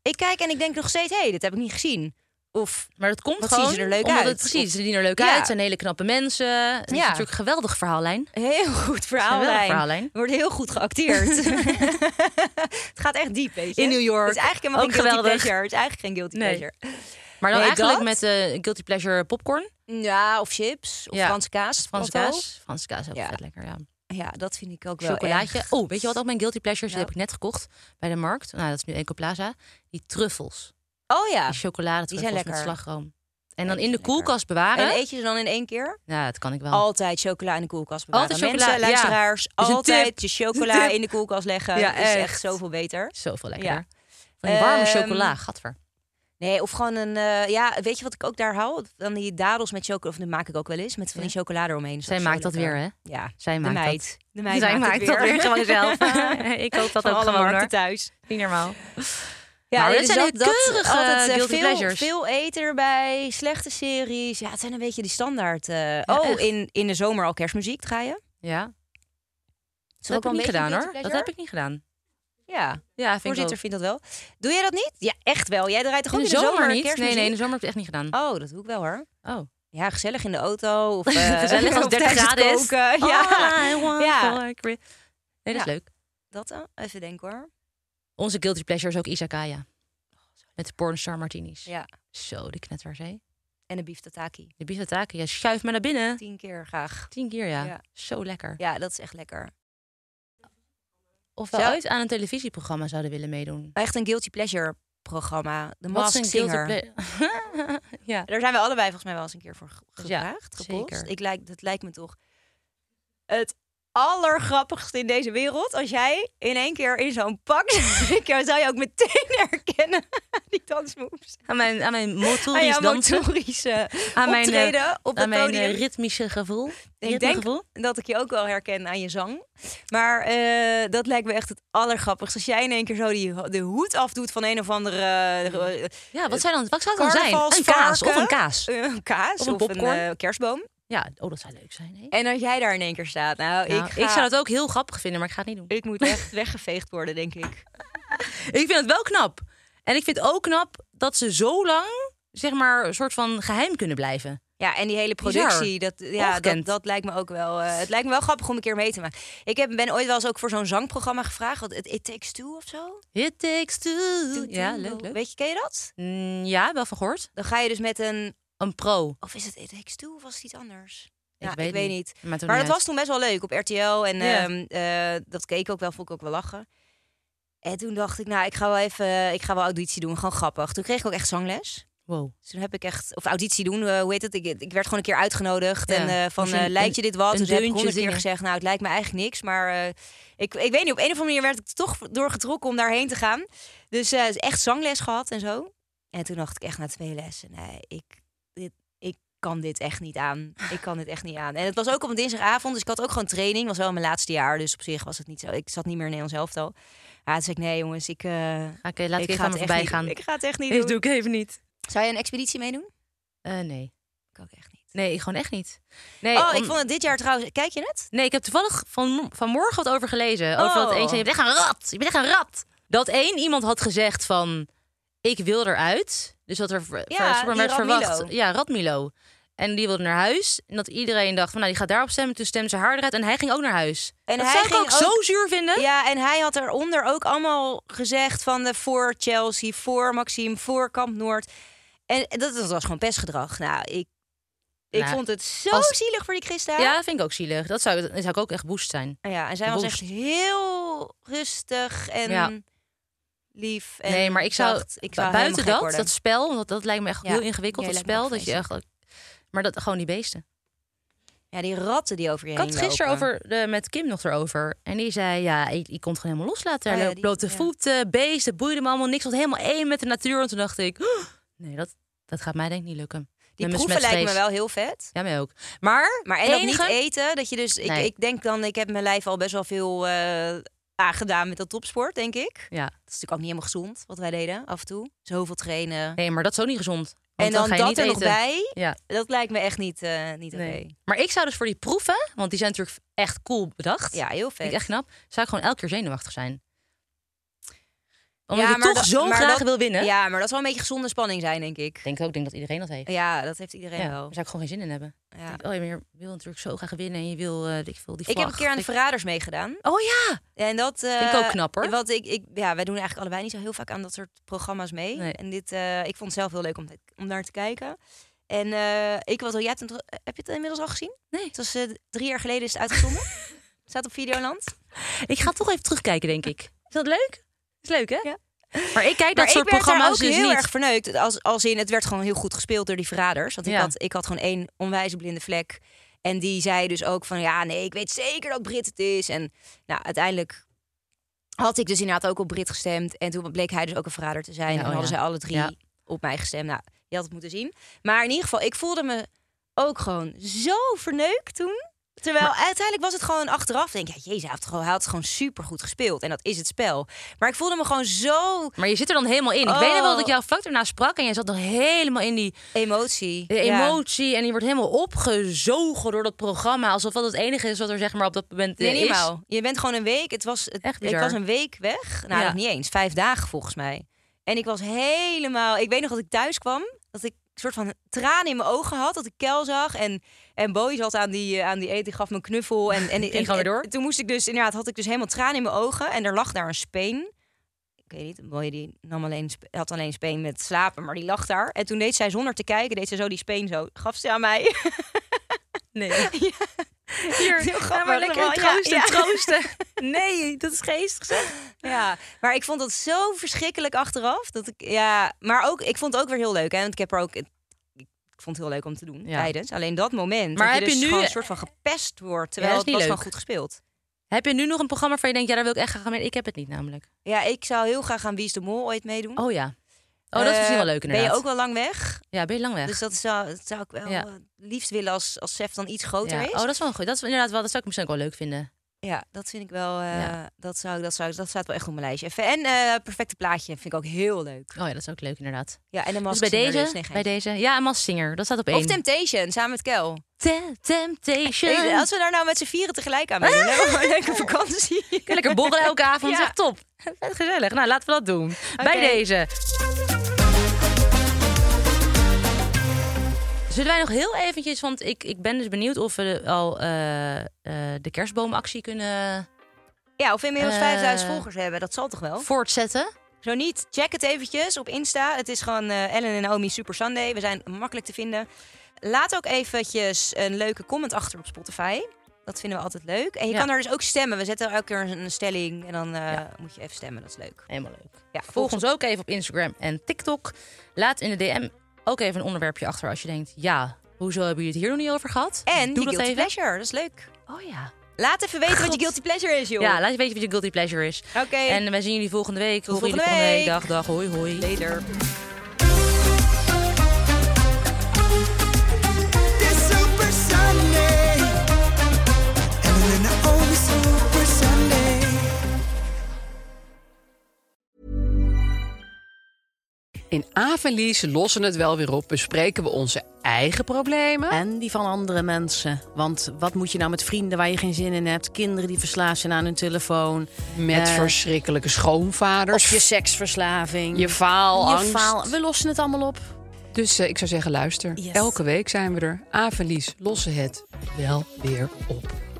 Speaker 4: Ik kijk en ik denk nog steeds... Hé, hey, dit heb ik niet gezien. Of
Speaker 3: Maar dat komt
Speaker 4: Wat zien
Speaker 3: gewoon
Speaker 4: ze er leuk
Speaker 3: omdat
Speaker 4: uit?
Speaker 3: Het, precies, ze zien er leuk
Speaker 4: Ja.
Speaker 3: uit. zijn hele knappe mensen. Het is
Speaker 4: Ja.
Speaker 3: natuurlijk een geweldig verhaallijn.
Speaker 4: heel goed
Speaker 3: Geweldig
Speaker 4: verhaallijn.
Speaker 3: verhaallijn.
Speaker 4: Wordt heel goed geacteerd. het gaat echt diep, weet je.
Speaker 3: In New York.
Speaker 4: Het is eigenlijk helemaal
Speaker 3: Ook
Speaker 4: geen guilty
Speaker 3: geweldig.
Speaker 4: pleasure. Het is eigenlijk geen guilty
Speaker 3: Nee.
Speaker 4: pleasure.
Speaker 3: Maar dan
Speaker 4: Nee,
Speaker 3: eigenlijk
Speaker 4: dat?
Speaker 3: met eh, guilty pleasure popcorn.
Speaker 4: Ja, of chips. Of
Speaker 3: Ja.
Speaker 4: Franse kaas.
Speaker 3: Franse
Speaker 4: plateau.
Speaker 3: kaas. Franse kaas is ook
Speaker 4: Ja.
Speaker 3: vet lekker, ja.
Speaker 4: Ja, dat vind ik ook wel
Speaker 3: Chocolaatje.
Speaker 4: echt.
Speaker 3: Oh, weet je wat ook mijn guilty pleasures?
Speaker 4: Nou.
Speaker 3: Die heb ik net gekocht bij de markt. Nou, dat is nu Ecoplaza. Die truffels.
Speaker 4: Oh ja.
Speaker 3: Die chocoladetruffels
Speaker 4: Die zijn
Speaker 3: met
Speaker 4: lekker.
Speaker 3: slagroom. En dan in
Speaker 4: die
Speaker 3: de
Speaker 4: zijn lekker.
Speaker 3: koelkast bewaren.
Speaker 4: En eet je ze dan in één keer?
Speaker 3: Ja, dat kan ik wel.
Speaker 4: Altijd chocola in de koelkast bewaren.
Speaker 3: Altijd chocola,
Speaker 4: Mensen,
Speaker 3: ja.
Speaker 4: luisteraars,
Speaker 3: Is een tip.
Speaker 4: altijd je
Speaker 3: Is een
Speaker 4: chocola
Speaker 3: tip.
Speaker 4: in de koelkast leggen.
Speaker 3: Ja,
Speaker 4: is
Speaker 3: echt.
Speaker 4: echt zoveel beter.
Speaker 3: Zoveel lekker.
Speaker 4: Ja.
Speaker 3: Van die warme
Speaker 4: Ehm,
Speaker 3: chocola, gadver.
Speaker 4: Nee, of gewoon een... eh, ja, weet je wat ik ook daar hou? Dan die dadels met chocola. Of dat maak ik ook wel eens. Met van die chocola eromheen. Dus Is
Speaker 3: Zij
Speaker 4: ook zo
Speaker 3: maakt dat
Speaker 4: lekker.
Speaker 3: weer, hè?
Speaker 4: Ja.
Speaker 3: Zij
Speaker 4: de
Speaker 3: maakt
Speaker 4: meid.
Speaker 3: dat.
Speaker 4: De meid
Speaker 3: Zij
Speaker 4: maakt,
Speaker 3: maakt
Speaker 4: het
Speaker 3: dat
Speaker 4: weer.
Speaker 3: weer gewoon zelf. Ik koop dat
Speaker 4: Van
Speaker 3: ook
Speaker 4: alle
Speaker 3: gewoon,
Speaker 4: markten
Speaker 3: hoor.
Speaker 4: thuis.
Speaker 3: Niet normaal.
Speaker 4: Ja,
Speaker 3: Maar
Speaker 4: nee,
Speaker 3: dit
Speaker 4: dus
Speaker 3: Nou, zijn
Speaker 4: dat- dat
Speaker 3: keurige
Speaker 4: altijd, eh,
Speaker 3: guilty
Speaker 4: veel,
Speaker 3: pleasures.
Speaker 4: Veel eten erbij, slechte series. Ja, het zijn een beetje die standaard. eh,
Speaker 3: echt.
Speaker 4: oh, in, in de zomer al kerstmuziek draaien.
Speaker 3: Ja. Dat
Speaker 4: Is ook
Speaker 3: heb ik
Speaker 4: wel
Speaker 3: niet
Speaker 4: een beetje
Speaker 3: gedaan,
Speaker 4: een
Speaker 3: hoor.
Speaker 4: guilty
Speaker 3: Dat
Speaker 4: pleasure?
Speaker 3: heb ik niet gedaan.
Speaker 4: Ja,
Speaker 3: Ja, vind ik
Speaker 4: voorzitter
Speaker 3: ook.
Speaker 4: vindt dat wel. Doe jij dat niet? Ja, echt wel. Jij draait toch ook
Speaker 3: In de zomer niet? Nee, nee, in de zomer heb ik het echt niet gedaan.
Speaker 4: Oh, dat doe ik wel hoor.
Speaker 3: Oh.
Speaker 4: Ja, gezellig in de auto. Of, eh,
Speaker 3: Gezellig als 30
Speaker 4: of tijdens het
Speaker 3: graden is.
Speaker 4: koken. Ja,
Speaker 3: All I want
Speaker 4: Ja.
Speaker 3: for Chris- Nee, dat is
Speaker 4: Ja.
Speaker 3: leuk.
Speaker 4: dat dan. Even denken hoor.
Speaker 3: Onze guilty pleasure is ook Izakaya. Met de pornstar martinis.
Speaker 4: Ja.
Speaker 3: Zo, die knetterzee.
Speaker 4: En een beef tataki.
Speaker 3: De bizataken, ja, schuif me naar binnen.
Speaker 4: Tien keer graag.
Speaker 3: Tien keer, ja.
Speaker 4: Ja.
Speaker 3: Zo lekker.
Speaker 4: Ja, dat is echt lekker.
Speaker 3: Of we
Speaker 4: Zou-
Speaker 3: ooit aan een televisieprogramma zouden willen meedoen.
Speaker 4: Echt een guilty pleasure programma.
Speaker 3: Wat
Speaker 4: De
Speaker 3: is
Speaker 4: Masked
Speaker 3: een
Speaker 4: Singer.
Speaker 3: guilty ple- ja.
Speaker 4: Daar zijn we allebei volgens mij wel eens een keer voor ge-
Speaker 3: Dus ja,
Speaker 4: gevraagd, gepost.
Speaker 3: zeker.
Speaker 4: Ik lijk, dat lijkt me toch het allergrappigste in deze wereld. Als jij in één keer in zo'n pak zit, dan zou je ook meteen herkennen die dansmoves.
Speaker 3: Aan mijn, aan mijn
Speaker 4: Aan
Speaker 3: motorisch
Speaker 4: jouw
Speaker 3: dansen.
Speaker 4: motorische
Speaker 3: Aan mijn, eh,
Speaker 4: optreden op het
Speaker 3: aan mijn eh,
Speaker 4: podium.
Speaker 3: ritmische gevoel.
Speaker 4: ik denk
Speaker 3: Ritmegevoel.
Speaker 4: dat ik je ook wel herken aan je zang. Maar eh, dat lijkt me echt het allergrappigste. Als jij in één keer zo die, de hoed afdoet van een of andere
Speaker 3: Hmm.
Speaker 4: eh,
Speaker 3: Ja, wat, zijn dan, wat zou het dan zijn? Een
Speaker 4: Carnavalsvarken.
Speaker 3: kaas of een kaas.
Speaker 4: eh, kaas
Speaker 3: Of
Speaker 4: of
Speaker 3: een
Speaker 4: een,
Speaker 3: popcorn.
Speaker 4: eh, kerstboom.
Speaker 3: Ja, oh, dat zou leuk zijn. hè?
Speaker 4: En als jij daar in één keer staat, nou,
Speaker 3: Nou,
Speaker 4: ik,
Speaker 3: ik,
Speaker 4: ga-
Speaker 3: zou dat ook heel grappig vinden, maar ik ga het niet doen.
Speaker 4: Ik moet echt weggeveegd worden, denk ik.
Speaker 3: Ik vind het wel knap. En ik vind het ook knap dat ze zo lang, zeg maar, een soort van geheim kunnen blijven.
Speaker 4: Ja, en die hele productie, dat, ja,
Speaker 3: Ongekend.
Speaker 4: dat, dat lijkt me ook wel. eh, het lijkt me wel grappig om een keer mee te maken. Ik heb, ben ooit wel eens ook voor zo'n zangprogramma gevraagd. Wat, het It Takes Two of zo.
Speaker 3: It takes two. Mm, Ja, leuk, leuk.
Speaker 4: Weet je, ken je dat?
Speaker 3: Mm, ja, wel van gehoord.
Speaker 4: Dan ga je dus met een.
Speaker 3: Een pro.
Speaker 4: Of is het It Takes Two of was het iets anders?
Speaker 3: Ik
Speaker 4: Ja,
Speaker 3: weet
Speaker 4: ik weet
Speaker 3: niet.
Speaker 4: niet.
Speaker 3: Maakt ook
Speaker 4: Maar
Speaker 3: niet
Speaker 4: dat
Speaker 3: uit.
Speaker 4: was toen best wel leuk op RTL. En
Speaker 3: Ja.
Speaker 4: ehm, eh, dat keek ik ook wel, vond ik ook wel lachen. En toen dacht ik, nou, ik ga wel even, ik ga wel auditie doen, gewoon grappig. Toen kreeg ik ook echt zangles.
Speaker 3: Wow.
Speaker 4: Dus toen heb ik echt, of auditie doen, eh, hoe heet het? Ik, ik werd gewoon een keer uitgenodigd.
Speaker 3: Ja.
Speaker 4: En eh, van,
Speaker 3: Moest je
Speaker 4: eh,
Speaker 3: een-
Speaker 4: lijkt je dit wat?
Speaker 3: een
Speaker 4: dus heb ik
Speaker 3: deuntje
Speaker 4: honderd keer
Speaker 3: zingen.
Speaker 4: gezegd, nou, het lijkt me eigenlijk niks. Maar eh, ik, ik weet niet, op een of andere manier werd ik er toch doorgetrokken om daarheen te gaan. Dus eh, echt zangles gehad en zo. En toen dacht ik echt na twee lessen, nee, ik, dit, ik kan dit echt niet aan. Ik kan dit echt niet aan. En het was ook op een dinsdagavond, dus ik had ook gewoon training. was wel mijn laatste jaar, dus op zich was het niet zo. Ik zat niet meer in Nederlands elftal. Ja, toen zei ik, nee jongens, ik, eh,
Speaker 3: Oké, laat ik,
Speaker 4: ik
Speaker 3: even aan me
Speaker 4: ga het echt
Speaker 3: voorbij
Speaker 4: niet
Speaker 3: gaan.
Speaker 4: doen. Ik ga het echt niet
Speaker 3: Dit
Speaker 4: doen.
Speaker 3: ik even niet.
Speaker 4: Zou je een expeditie meedoen?
Speaker 3: Eh, nee.
Speaker 4: Ik ook echt niet.
Speaker 3: Nee, gewoon echt niet. Nee,
Speaker 4: oh, ik
Speaker 3: om-
Speaker 4: vond het dit jaar trouwens. Kijk je het?
Speaker 3: nee, ik heb toevallig van, vanmorgen wat over gelezen. Over dat
Speaker 4: Oh.
Speaker 3: één zei, je bent echt een rat. Je bent echt een rat. Dat één iemand had gezegd van, ik wil eruit. Dus dat er ver-
Speaker 4: Ja,
Speaker 3: ver- soort van
Speaker 4: die
Speaker 3: werd
Speaker 4: Radmilo.
Speaker 3: verwacht. Ja, Radmilo. En die wilde naar huis. En dat iedereen dacht van, nou, die gaat daarop stemmen. Toen stemde ze haar eruit en hij ging ook naar huis.
Speaker 4: En
Speaker 3: dat
Speaker 4: hij
Speaker 3: zou ik
Speaker 4: ging
Speaker 3: ook, zo
Speaker 4: ook-
Speaker 3: zuur vinden.
Speaker 4: Ja, en hij had eronder ook allemaal gezegd van de voor Chelsea, voor Maxime, voor Kamp Noord. En dat, dat was gewoon pestgedrag. Nou, ik, ik
Speaker 3: Nou,
Speaker 4: vond het zo
Speaker 3: als-
Speaker 4: zielig voor die Christa.
Speaker 3: Ja, dat vind ik ook zielig. Dat zou, dat zou ik ook echt woest zijn.
Speaker 4: Ja, en zij was
Speaker 3: Woest.
Speaker 4: echt heel rustig en
Speaker 3: Ja.
Speaker 4: lief en
Speaker 3: nee, maar ik zou,
Speaker 4: zacht. Ik zou helemaal
Speaker 3: buiten
Speaker 4: gek
Speaker 3: dat,
Speaker 4: worden.
Speaker 3: dat spel, want dat lijkt me echt
Speaker 4: Ja.
Speaker 3: heel ingewikkeld,
Speaker 4: Ja,
Speaker 3: dat
Speaker 4: lijkt me
Speaker 3: spel.
Speaker 4: ook
Speaker 3: Dat je echt, maar dat gewoon die beesten.
Speaker 4: Ja, die ratten die over je
Speaker 3: Ik had
Speaker 4: heen
Speaker 3: het gisteren
Speaker 4: lopen.
Speaker 3: over de, met Kim nog erover. En die zei, ja, ik, ik kon het gewoon helemaal loslaten.
Speaker 4: Oh
Speaker 3: Hij
Speaker 4: ja,
Speaker 3: loopt
Speaker 4: die-
Speaker 3: blote
Speaker 4: ja.
Speaker 3: voeten, beesten, boeide me allemaal niks. Ik was helemaal één met de natuur. En toen dacht ik, "Oh, nee, dat, dat gaat mij denk ik niet lukken.
Speaker 4: Die
Speaker 3: Met mijn
Speaker 4: proeven lijken me
Speaker 3: smetvrees.
Speaker 4: wel heel vet.
Speaker 3: Ja, mij ook. Maar,
Speaker 4: Maar en
Speaker 3: enige-
Speaker 4: dat niet eten, dat je dus... Ik,
Speaker 3: Nee.
Speaker 4: ik denk dan, ik heb mijn lijf al best wel veel eh, aangedaan met dat topsport, denk ik.
Speaker 3: Ja,
Speaker 4: Dat is natuurlijk ook niet helemaal gezond, wat wij deden af en toe. Zoveel trainen.
Speaker 3: nee, maar dat is ook niet gezond. Want
Speaker 4: en dan,
Speaker 3: ga je
Speaker 4: dat
Speaker 3: niet
Speaker 4: er nog
Speaker 3: eten.
Speaker 4: bij,
Speaker 3: Ja,
Speaker 4: dat lijkt me echt niet, eh, niet oké.
Speaker 3: nee. Maar ik zou dus voor die proeven, want die zijn natuurlijk echt cool bedacht.
Speaker 4: Ja, heel
Speaker 3: Vind
Speaker 4: vet.
Speaker 3: ik echt knap. Zou ik gewoon elke keer zenuwachtig zijn. Omdat je
Speaker 4: maar
Speaker 3: toch
Speaker 4: dat-
Speaker 3: zo
Speaker 4: maar
Speaker 3: graag
Speaker 4: dat-
Speaker 3: wil winnen.
Speaker 4: Ja, maar dat zal een beetje gezonde spanning zijn, denk ik.
Speaker 3: Ik denk ook, ik denk dat iedereen dat heeft.
Speaker 4: Ja, dat heeft iedereen
Speaker 3: Ja, daar
Speaker 4: wel.
Speaker 3: zou ik gewoon geen zin in hebben. Ik
Speaker 4: Ja.
Speaker 3: denk, oh, je wil natuurlijk zo graag winnen en je wil, eh, weet ik veel, die
Speaker 4: Ik heb een
Speaker 3: vlag.
Speaker 4: keer aan de
Speaker 3: Ik-
Speaker 4: Verraders meegedaan.
Speaker 3: Oh ja!
Speaker 4: En dat
Speaker 3: Vind ik
Speaker 4: eh,
Speaker 3: ook knap, hoor.
Speaker 4: Want ik, ik, ja, wij doen eigenlijk allebei niet zo heel vaak aan dat soort programma's mee.
Speaker 3: Nee.
Speaker 4: En dit, eh, ik vond het zelf heel leuk om, om naar te kijken. En eh, ik was al, jij hebt het, heb je het inmiddels al gezien?
Speaker 3: Nee.
Speaker 4: Het was eh, drie jaar geleden is het uitgezonden. Staat op Videoland.
Speaker 3: Ik ga toch even terugkijken, denk ik. Is dat leuk? Is leuk, hè?
Speaker 4: Ja.
Speaker 3: Maar ik kijk dat
Speaker 4: maar
Speaker 3: soort
Speaker 4: ik werd daar
Speaker 3: programma's
Speaker 4: ook
Speaker 3: dus
Speaker 4: heel
Speaker 3: niet.
Speaker 4: erg verneukt. Als, als in, het werd gewoon heel goed gespeeld door die verraders. Want ik,
Speaker 3: Ja.
Speaker 4: had, ik had gewoon één onwijze blinde vlek. En die zei dus ook van, ja, nee, ik weet zeker dat Brit het is. En nou, uiteindelijk had ik dus inderdaad ook op Brit gestemd. En toen bleek hij dus ook een verrader te zijn.
Speaker 3: Ja,
Speaker 4: en
Speaker 3: oh
Speaker 4: hadden
Speaker 3: ja.
Speaker 4: zij alle drie
Speaker 3: Ja.
Speaker 4: op mij gestemd. Nou, je had het moeten zien. Maar in ieder geval, ik voelde me ook gewoon zo verneukt toen. Terwijl uiteindelijk was het gewoon achteraf. Denk ik, ja, jezus, hij had, gewoon- hij had gewoon supergoed gespeeld. En dat is het spel. Maar ik voelde me gewoon zo
Speaker 3: Maar je zit er dan helemaal in. Ik
Speaker 4: Oh.
Speaker 3: weet nog wel dat ik jou vlak daarna sprak en jij zat nog helemaal in die
Speaker 4: Emotie.
Speaker 3: de emotie. En je wordt helemaal opgezogen door dat programma. Alsof dat het enige is wat er zeg maar op dat moment eh,
Speaker 4: Nee, niet
Speaker 3: is.
Speaker 4: normaal. Je bent gewoon een week. Het was, het,
Speaker 3: Echt
Speaker 4: ik
Speaker 3: bizar.
Speaker 4: was een week weg. Nou,
Speaker 3: Ja.
Speaker 4: nog niet eens. Vijf dagen volgens mij. En ik was helemaal. Ik weet nog dat ik thuis kwam. Dat ik een soort van tranen in mijn ogen had. Dat ik Kel zag. En, en Boy zat aan die, eh, aan die eten. Die gaf me een knuffel. En, en, en,
Speaker 3: gewoon weer
Speaker 4: en-
Speaker 3: door.
Speaker 4: toen moest ik dus. Inderdaad, had ik dus helemaal tranen in mijn ogen. En er lag daar een speen. Ik weet niet. Boy die nam alleen, sp- had alleen speen met slapen. Maar die lag daar. En toen deed zij zonder te kijken. Deed ze zo die speen zo. Gaf ze aan mij.
Speaker 3: Nee. Hier,
Speaker 4: Heel grappig
Speaker 3: ga maar lekker
Speaker 4: allemaal. Ja,
Speaker 3: troosten,
Speaker 4: ja.
Speaker 3: troosten. Nee, dat is geestig zeg.
Speaker 4: Ja, maar ik vond dat zo verschrikkelijk achteraf. Dat ik, ja, maar ook, ik vond het ook weer heel leuk. Hè? Want ik heb er ook. Ik ik vond het heel leuk om te doen
Speaker 3: Ja.
Speaker 4: tijdens. Alleen dat moment.
Speaker 3: Maar
Speaker 4: dat
Speaker 3: heb
Speaker 4: je
Speaker 3: je
Speaker 4: dus
Speaker 3: nu-
Speaker 4: gewoon een soort van gepest wordt. Terwijl
Speaker 3: Ja,
Speaker 4: het
Speaker 3: dat is
Speaker 4: was
Speaker 3: niet
Speaker 4: gewoon
Speaker 3: leuk.
Speaker 4: goed gespeeld.
Speaker 3: Heb je nu nog een programma waar je denkt, ja, daar wil ik echt graag aan mee? Ik heb het niet namelijk.
Speaker 4: Ja, ik zou heel graag aan Wie is de Mol ooit meedoen.
Speaker 3: Oh ja. Oh, dat is
Speaker 4: Eh,
Speaker 3: misschien wel leuk inderdaad.
Speaker 4: Ben je ook wel lang weg?
Speaker 3: Ja, ben je lang weg?
Speaker 4: Dus dat zou, dat zou ik wel
Speaker 3: Ja.
Speaker 4: eh, het liefst willen als, als Sef dan iets groter
Speaker 3: Ja.
Speaker 4: is.
Speaker 3: Oh, dat is wel een goed. Dat is inderdaad wel. Dat zou ik misschien ook wel leuk vinden.
Speaker 4: Ja, dat vind ik wel. eh,
Speaker 3: Ja.
Speaker 4: dat, zou, ik- dat, zou, ik- dat staat wel echt op mijn lijstje. En eh, Perfecte Plaatje vind ik ook heel leuk.
Speaker 3: Oh ja, dat is ook leuk inderdaad.
Speaker 4: Ja, en dan
Speaker 3: Dus bij deze, bij deze. Ja, en Mas Singer. Dat staat op één.
Speaker 4: Of Temptation, samen met Kel.
Speaker 3: Te- Temptation.
Speaker 4: Ik- als we daar nou met z'n vieren tegelijk aan meedoen, hebben we gewoon een leuke vakantie.
Speaker 3: Kun je lekker borrelen elke avond.
Speaker 4: Ja.
Speaker 3: Zeg top. Vet gezellig. Nou, laten we dat doen. Bij deze. Zullen wij nog heel eventjes, want ik, ik ben dus benieuwd of we al eh, eh, de kerstboomactie kunnen
Speaker 4: Ja, of we inmiddels
Speaker 3: Eh.
Speaker 4: 5000 volgers hebben, dat zal toch
Speaker 3: Oh.
Speaker 4: wel?
Speaker 3: voortzetten.
Speaker 4: Zo niet, check het eventjes op Insta. Het is gewoon eh, Ellen en Naomi Super Sunday. We zijn makkelijk te vinden. Laat ook eventjes een leuke comment achter op Spotify. Dat vinden we altijd leuk. En je
Speaker 3: Ja.
Speaker 4: kan daar dus ook stemmen. We zetten elke keer een, een stelling en dan eh, moet je even stemmen. Dat is leuk.
Speaker 3: Helemaal leuk.
Speaker 4: Ja,
Speaker 3: Volg ons ook even op Instagram en TikTok. Laat in de DM ook even een onderwerpje achter als je denkt... ja, hoezo hebben jullie het hier nog niet over gehad?
Speaker 4: En
Speaker 3: Doe
Speaker 4: je
Speaker 3: dat
Speaker 4: guilty
Speaker 3: even.
Speaker 4: pleasure, dat is leuk.
Speaker 3: Oh ja.
Speaker 4: Laat even weten wat je
Speaker 3: God.
Speaker 4: guilty pleasure is, joh.
Speaker 3: Ja, laat je weten wat je guilty pleasure is.
Speaker 4: Oké.
Speaker 3: En wij zien jullie volgende week. Horen
Speaker 4: volgende
Speaker 3: jullie Oh
Speaker 4: week.
Speaker 3: Dag, dag. Hoi, hoi.
Speaker 4: Later.
Speaker 2: This Super Sunday. Ellen and Naomi Super Sunday.
Speaker 6: In Avenlies lossen het wel weer op, bespreken we onze eigen problemen.
Speaker 7: En die van andere mensen. Want wat moet je nou met vrienden waar je geen zin in hebt? Kinderen die verslaafd zijn aan hun telefoon.
Speaker 6: Met
Speaker 7: Eh,
Speaker 6: verschrikkelijke schoonvaders.
Speaker 7: Of je seksverslaving.
Speaker 6: Je faalangst.
Speaker 7: Je faal- We lossen het allemaal op.
Speaker 6: Dus eh, ik zou zeggen, luister.
Speaker 7: Yes.
Speaker 6: Elke week zijn we er. Avenlies lossen het wel weer op.